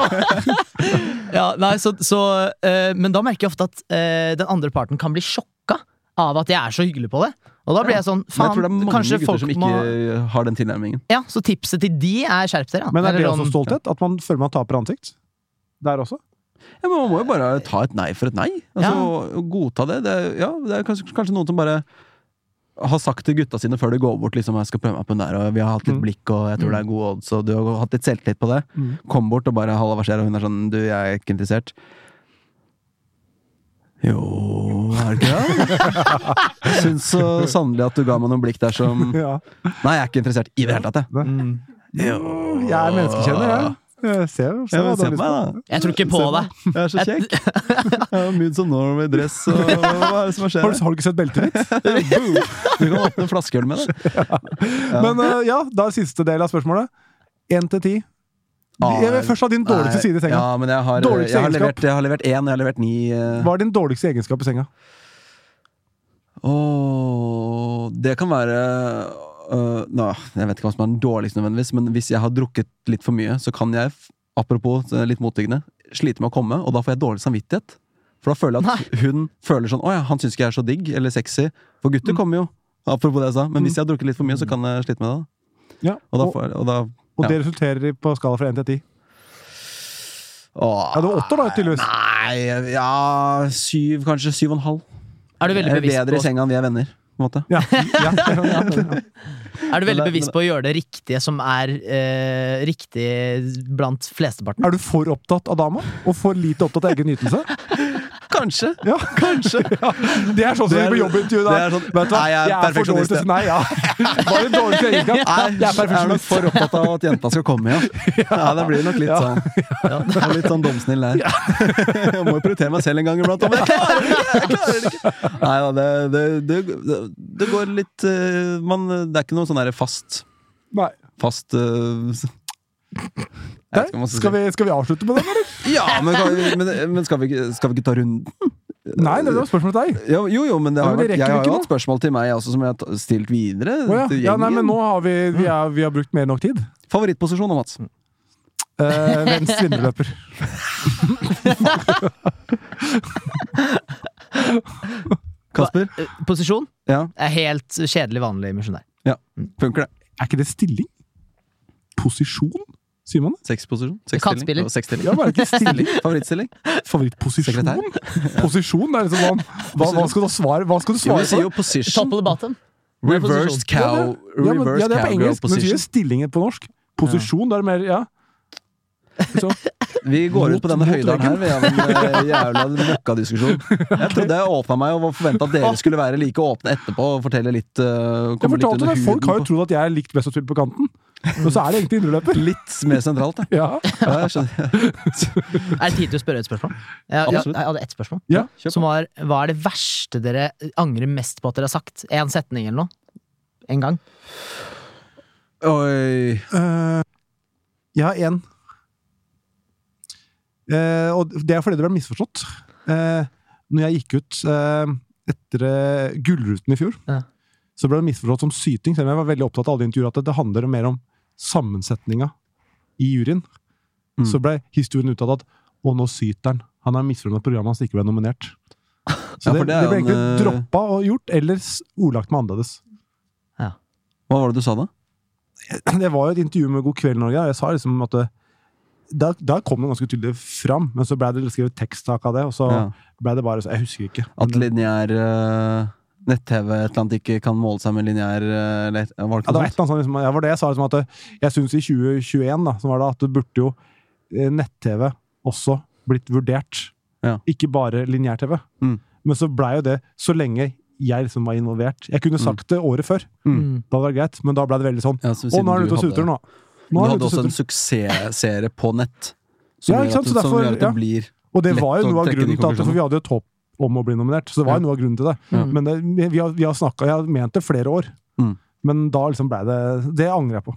D: Ja, nei, så, så, eh, men da merker jeg ofte at eh, den andre parten kan bli sjokka av at jeg er så hyggelig på det. Og da blir jeg sånn,
B: Men jeg
D: faen,
B: tror det er mange
D: kanskje
B: gutter
D: folk
B: som
D: må
B: ikke har den tilnærmingen.
D: Ja, Så tipset til de er skjerp dere. ja.
C: Men er det
D: Eller
C: også
D: sånn-
C: stolthet? At man føler man taper ansikt? Der også?
B: Ja, men Man må jo bare ta et nei for et nei. Altså,
D: Ja.
B: og- og Godta det. Det er, ja, det er kanskje, kanskje noen som bare har sagt til gutta sine før de går bort liksom, jeg skal prøve meg på den der, og vi har hatt litt
C: Mm.
B: blikk, og jeg tror det er gode odds, og du har hatt litt selvtillit på det.
C: Mm.
B: Kom bort og bare halla, hva skjer? Og hun er sånn, du, jeg er ikke interessert. Jo, er det ikke det? Jeg syns så sannelig at du ga meg noen blikk der som Nei,
C: Ja.
B: jeg er ikke interessert i det hele tatt, jeg. Jo.
C: Jeg er menneskekjenner, jeg. jeg. Ser jo
B: Ja, men se på meg, da.
D: Jeg tror ikke på
B: Se
D: deg.
B: Jeg er så kjekk. Jeg har Moods of Norway-dress og hva er det som
C: Har
B: skjer?
C: du, har du ikke sett beltet mitt?
B: Du kan åpne en flaskeøl med det.
C: Men eh, ja, da er siste del av spørsmålet. Én til ti. Jeg vil først ha din dårligste side i senga.
B: Ja, men jeg har,
C: Dårligste
B: jeg har
C: egenskap.
B: levert, jeg har levert én, og jeg har levert ni. eh.
C: Hva er din dårligste egenskap i senga?
B: Åh, det kan være øh, nå, Jeg vet ikke hva som er den dårligste, nødvendigvis, men hvis jeg har drukket litt for mye, så kan jeg, f- apropos eh, litt motliggende, slite med å komme, og da får jeg dårlig samvittighet. For da føler jeg at hun føler sånn Å ja, han syns ikke jeg er så digg eller sexy. For gutter
C: Mm.
B: kommer jo. Apropos det jeg sa. Men hvis jeg har drukket litt for mye, så kan jeg slite med det. da.
C: Ja,
B: Og da
C: Mm. og,
B: får jeg, og da
C: og
B: ja.
C: det resulterer i på skala fra 1 til 10.
B: Åh,
C: Ja, det var åtter da, tydeligvis.
B: Ah, Nei, ja Syv, kanskje. Syv og en halv.
D: Er du
B: Jeg
D: veldig
B: er
D: bevisst
B: bedre i
D: på,
B: senga enn vi er venner. På en måte.
C: Ja, ja, ja, ja.
D: er du
B: Men
D: veldig
B: det-
D: bevisst på å gjøre det riktige som er eh, riktig blant flesteparten?
C: Er du for opptatt av dama? Og for lite opptatt av egen nytelse?
B: Kanskje.
C: Ja, kanskje. Ja. Det er sånn som
B: Det
C: de
B: er-
C: på jobbintervju
B: det
C: da.
B: er sånn,
C: Vet du hva?
B: nei, jeg er
C: for dårlig til å si nei. Ja. Hva er din dårligste
B: Nei,
C: egenskap? Jeg er
B: er nok
C: perfeksjonist.
B: for opptatt av at jenta skal komme, ja. ja det blir nok litt
C: Ja.
B: sånn Og Litt sånn domsnill der. Jeg må jo prioritere meg selv en gang iblant, men jeg klarer det ikke! Jeg klarer det ikke. Nei da, det, det, det, det går litt eh, man, Det er ikke noe sånn derre fast
C: Nei.
B: Fast eh, jeg vet ikke hva
C: Der,
B: man
C: skal, vi, skal vi avslutte med den, eller?
B: si. Ja, men, kan vi- men, men skal, vi, ikke- skal vi ikke ta runden?
C: Nei, det var spørsmål til deg.
B: Jo, jo, jo men, det
C: Ja,
B: har, jo
C: men
B: vært-
C: det rekker
B: jeg
C: vi
B: har
C: ikke
B: jo hatt spørsmål til meg også, som jeg har ta- stilt videre
C: Å ja.
B: til
C: ja, nei, men nå
B: gjengen.
C: har vi, vi, er, vi har brukt mer enn nok tid.
B: Favorittposisjon, da, Mats?
C: Uh, Venstre vinnerløper.
B: Kasper?
D: Eh, Posisjon?
B: Ja,
D: er helt kjedelig vanlig misjonær.
B: funker det?
C: Er ikke det stilling? Posisjon? Sier man det?
B: Sexposisjon?
D: Kantspiller.
B: Sexstilling? Sexstilling.
C: Ja, var det ikke stilling?
B: Favorittstilling?
C: Favorittposisjon?
B: Sekretær.
C: Posisjon? Det er liksom sånn, hva, hva skal du svare, hva skal du
B: Jo, vi
C: svare
B: sier
C: for?
B: jo position.
D: Top of the bottom.
B: Reversed cow
C: Ja, men,
B: Reverse
C: ja, det er på
B: cowgirl
C: engelsk, men du sier
B: position.
C: stillingen på norsk. Posisjon, da er det mer Ja. Så,
B: Vi går ut på denne
C: Mot- mot
B: høydalen her ved en eh, jævla møkkadiskusjon. Jeg trodde jeg åpna meg og forventa at dere skulle være like åpne etterpå og fortelle litt. eh,
C: Ah. jeg
B: komme litt
C: fortalte
B: under
C: deg, Folk
B: huden
C: har jo
B: på-
C: trodd at jeg er likt best å spille på kanten, men så er det egentlig indreløper.
B: Litt mer sentralt, ja.
C: Ja.
B: ja jeg skjønner.
D: Er det tid til å spørre et spørsmål? Jeg, jeg,
B: Absolutt.
D: jeg hadde ett spørsmål.
C: Ja,
B: kjør på.
D: som var Hva er det verste dere angrer mest på at dere har sagt? En setning eller noe? En gang?
B: Oi.
C: Eh, jeg har én. Eh, og det er fordi dere ble misforstått. Uh, når jeg gikk ut eh, etter eh, Gullruten i fjor,
D: Ja.
C: så ble det misforstått som syting. Selv om jeg var veldig opptatt av alle de intervjuer at det handler mer om sammensetninga i juryen.
B: Mm.
C: Så ble historien uttalt at 'Å, nå syter han'. Han er misfornøyd med at programmet hans ikke ble nominert. Så
B: Ja, for
C: det,
B: det er
C: det, ble
B: jo en,
C: egentlig
B: eh,
C: droppa og gjort, eller s- ordlagt med annerledes.
B: Hva var det du sa da?
C: det var jo et intervju med God kveld Norge, og jeg sa liksom at det- da, da kom det ganske tydelig fram, men så ble det skrevet teksttak av det, og så
B: Ja.
C: ble det bare så, Jeg husker ikke.
B: At
C: Men,
B: lineær eh, nett-TV et eller annet ikke kan måle seg med lineær eh, eller- Var det
C: ja, det
B: ikke
C: var et eller annet sånt, liksom, ja, var det jeg sa, liksom at det- jeg syns i 2021 da, som var da, at det burde jo eh, nett-TV også blitt vurdert.
B: Ja.
C: Ikke bare lineær-TV.
B: Mm.
C: Men så blei jo det, så lenge jeg liksom var involvert. Jeg kunne sagt det året før,
B: Mm.
C: da hadde det vært greit, men da ble det veldig sånn
B: Ja, så
C: Å, nå er
B: siden
C: han
B: du
C: ute og
B: hadde-
C: suter nå!
B: Du
C: nå er han
B: hadde
C: ute og
B: også en
C: suter.
B: suksessserie på nett.
C: Ja,
B: Som
C: ikke
B: gjør
C: sant,
B: at, det-
C: så
B: som
C: derfor-
B: gjør at
C: ja.
B: det blir
C: Og det
B: lett
C: var
B: å
C: jo noe av
B: trekke de
C: grunnen til at
B: konklusjonene.
C: for vi hadde jo et håp om å bli nominert. Så det var jo
B: Ja.
C: noe av grunnen til det.
D: Ja.
C: Men det, vi, vi har, vi har snakket, jeg har ment det flere år.
B: Mm.
C: Men da liksom ble det Det angrer jeg på.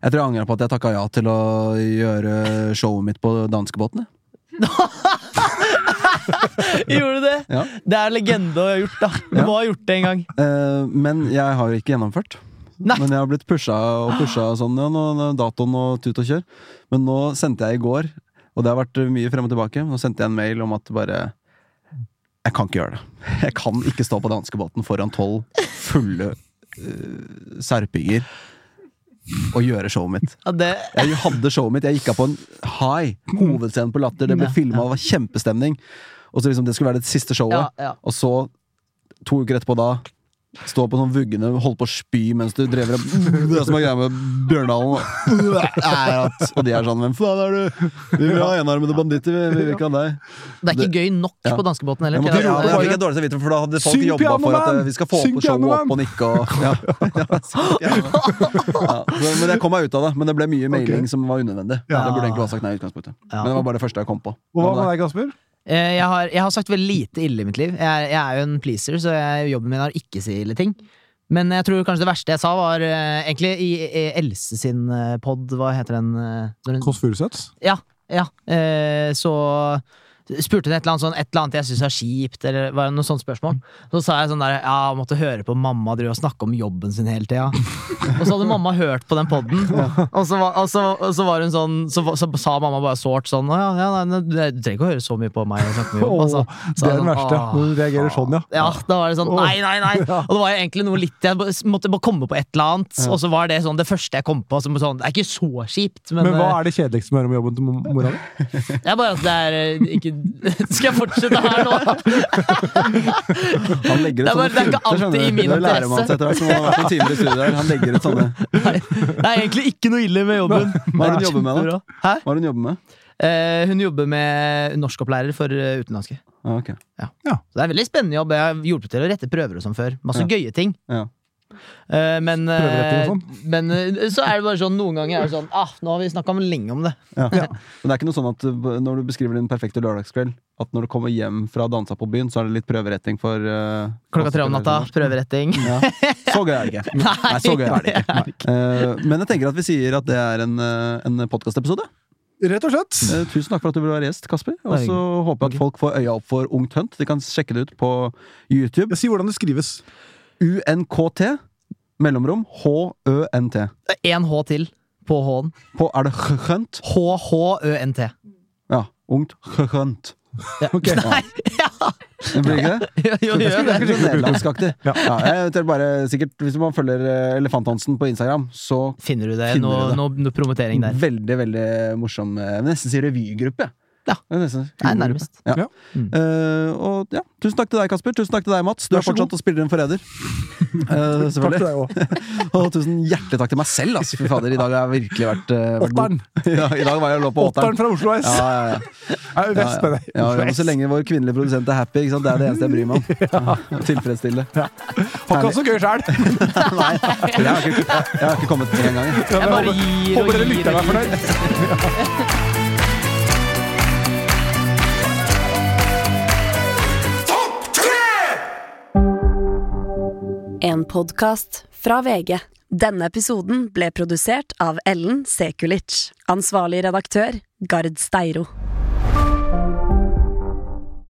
B: Jeg tror jeg angrer på at jeg takka ja til å gjøre showet mitt på danskebåten. jeg.
D: Gjorde du det?
B: Ja.
D: Det er legende å ha gjort, da. Du
B: Ja.
D: må ha gjort det en gang.
B: Eh, men jeg har ikke gjennomført.
D: Nei.
B: Men jeg har blitt pusha og pusha sånn, ja, nå, nå, er datoen og tut og kjør. Men nå sendte jeg i går, og det har vært mye frem og tilbake, nå sendte jeg en mail om at bare Jeg kan ikke gjøre det. Jeg kan ikke stå på danskebåten foran tolv fulle eh, serpinger og gjøre showet mitt.
D: Ja, det,
B: Jeg hadde showet mitt. Jeg gikk av på en high. Hovedscenen på Latter. Det ble
D: Ja,
B: filma, det var kjempestemning. Og så liksom Det skulle være det siste
D: ja,
B: showet.
D: ja.
B: Og så, to uker etterpå da Stå på sånn vuggende, holde på å spy mens du drever og Det som er greia med Bjørndalen er at, Og de er sånn Hvem faen er du? Vi vil ha enarmede banditter, vi, vi vil ikke ha deg.
D: Det er ikke gøy nok
B: Ja.
D: på danskebåten heller.
B: Jeg, måtte,
D: til at-
B: ja,
C: rope
B: jeg
C: bare-
B: fikk en dårlig samvittighet, for da hadde folk
C: Syng
B: jobba for at eh,
C: Pianoman!
B: vi skal få
C: Syng
B: på showet
C: Pianoman!
B: opp og nikke og ja. Ja, syng Pianoman. ja. så- Men jeg kom meg ut av det. Men det ble mye mailing som var unødvendig.
C: Ja.
B: Jeg burde egentlig ha sagt nei i utgangspunktet.
D: Ja.
B: Men det var bare det første jeg kom på.
C: Og hva
B: Men
C: med
B: nei.
C: deg, Kasper?
D: Eh, Jeg har, jeg har sagt veldig lite ille i mitt liv. Jeg er, jeg er jo en pleaser, så jeg, jobben min er å ikke si ille ting. Men jeg tror kanskje det verste jeg sa, var eh, egentlig i i Else sin eh, pod Hva heter den? eh, når hun-
C: Kåss Furuseths?
D: Ja, ja. Eh, så spurte hun et eller annet sånn Et eller annet jeg syns er kjipt, eller var det noe sånt spørsmål. Så sa jeg sånn der Ja, jeg måtte høre på mamma drive og snakke om jobben sin hele tida. og så hadde mamma hørt på den poden, og, så var- og, så- og så var hun sånn Så, så sa mamma bare sårt sånn Å ja, ja nei, nei, du trenger ikke å høre så mye på meg og snakke om jobb, altså. Så
C: det er den
D: jeg
C: verste.
D: «Åh,
C: Når du reagerer sånn, ja.
D: Ah, ja, da var det sånn Nei, nei, nei! Og det var jo egentlig noe litt Jeg bare- måtte bare komme på et eller annet, og så var det sånn det første jeg kom på. Som sånn, det er ikke så kjipt, men,
C: Men
D: eh,
C: hva er det kjedeligste med å høre om jobben til mo- mora di?
D: det er bare at det er eh, ikke Skal jeg fortsette her nå?
B: Han legger ut
D: Det er bare-
B: sånne
D: det er ikke
B: filter, skjønner
D: alltid i
B: du.
D: min
B: Det lærer man
D: interesse.
B: seg etter hvert, som man har vært noen timer i studiet her. Han legger ut sånne
D: Nei, det er egentlig ikke noe ille med jobben.
B: Hva er det hun jobber med, da?
D: Kjempebra. Hæ?
B: Hva er det hun jobber med?
D: Eh, hun jobber med norskopplærer for eh, utenlandske.
B: Ah, ok.
D: Så det er en veldig spennende jobb. Jeg har hjulpet til å rette prøver og sånn før. Masse
B: Ja.
D: gøye ting.
B: Ja.
D: Eh, men eh,
C: Prøveretting og
B: sånn?
D: men eh, så er det bare sånn noen ganger er det sånn ah, Nå har vi snakka lenge om det.
B: Ja. Men det er ikke noe sånn at uh, når du beskriver din perfekte lørdagskveld, at når du kommer hjem fra dansa på byen, så er det litt prøveretting for uh,
D: Klokka tre om natta, prøveretting.
B: Ja. Så gøy er det ikke.
D: Nei,
B: så gøy er det
D: det er det ikke.
B: Eh, men jeg tenker at vi sier at det er en, uh, en podkastepisode.
C: Rett og slett.
B: Eh, tusen takk for at du ville være gjest, Kasper. Og så håper jeg at folk får øya opp for Ungt Hunt. De kan sjekke det ut på YouTube.
C: Jeg sier hvordan det skrives.
B: UNKT, mellomrom, H-Ø-N-T.
D: Én H til på H-en.
B: På er det Hunt?
D: H-H-Ø-N-T.
B: Ja. Ungt Hunt.
D: Ja. Nei, ja!
B: Det blir ikke det?
D: Jo, jo,
B: Det
D: jo,
B: er
D: det.
B: ganske sånn nederlandskaktig.
C: Ja.
B: Ja, jeg tror bare, sikkert, hvis man følger eh, Elefanthansen på Instagram, så
D: Finner du det?
B: Finner
D: Noe,
B: du det.
D: noe, noe promotering der?
B: veldig veldig morsom eh, Jeg vil nesten si revygruppe. jeg.
D: Ja.
B: Jeg vil nesten si
D: Nei,
B: revygruppe.
D: nærmest.
B: Ja.
C: Ja.
D: Mm.
B: Eh, og ja, Tusen takk til deg, Kasper. Tusen takk til deg, Mats. Du er
C: Vær så
B: fortsatt
C: god.
B: å spille en forræder. Eh,
C: Takk til
B: selvfølgelig.
C: deg òg.
B: og tusen hjertelig takk til meg selv. Altså. Fy fader, I dag har jeg virkelig vært, eh, vært god.
C: Åtteren.
B: ja, I dag var jeg og lå på åtteren.
C: Åtteren fra Oslo S.
B: Ja, ja, ja.
C: Er jo
B: Ja,
C: best
B: ja.
C: med deg.
B: Ja,
C: Oslo
B: ja, men så
C: S.
B: lenge vår kvinnelige produsent er happy, ikke sant? det er det eneste jeg bryr meg om. Tilfredsstille.
C: Har ikke hatt så gøy sjæl.
B: Nei, jeg har ikke, jeg har ikke kommet til engang.
D: Jeg bare gir og
C: Håper dere
D: gir.
C: lytterne
D: og
C: er fornøyd.
A: En podkast fra VG. Denne episoden ble produsert av Ellen Sekulic. Ansvarlig redaktør, Gard Steiro.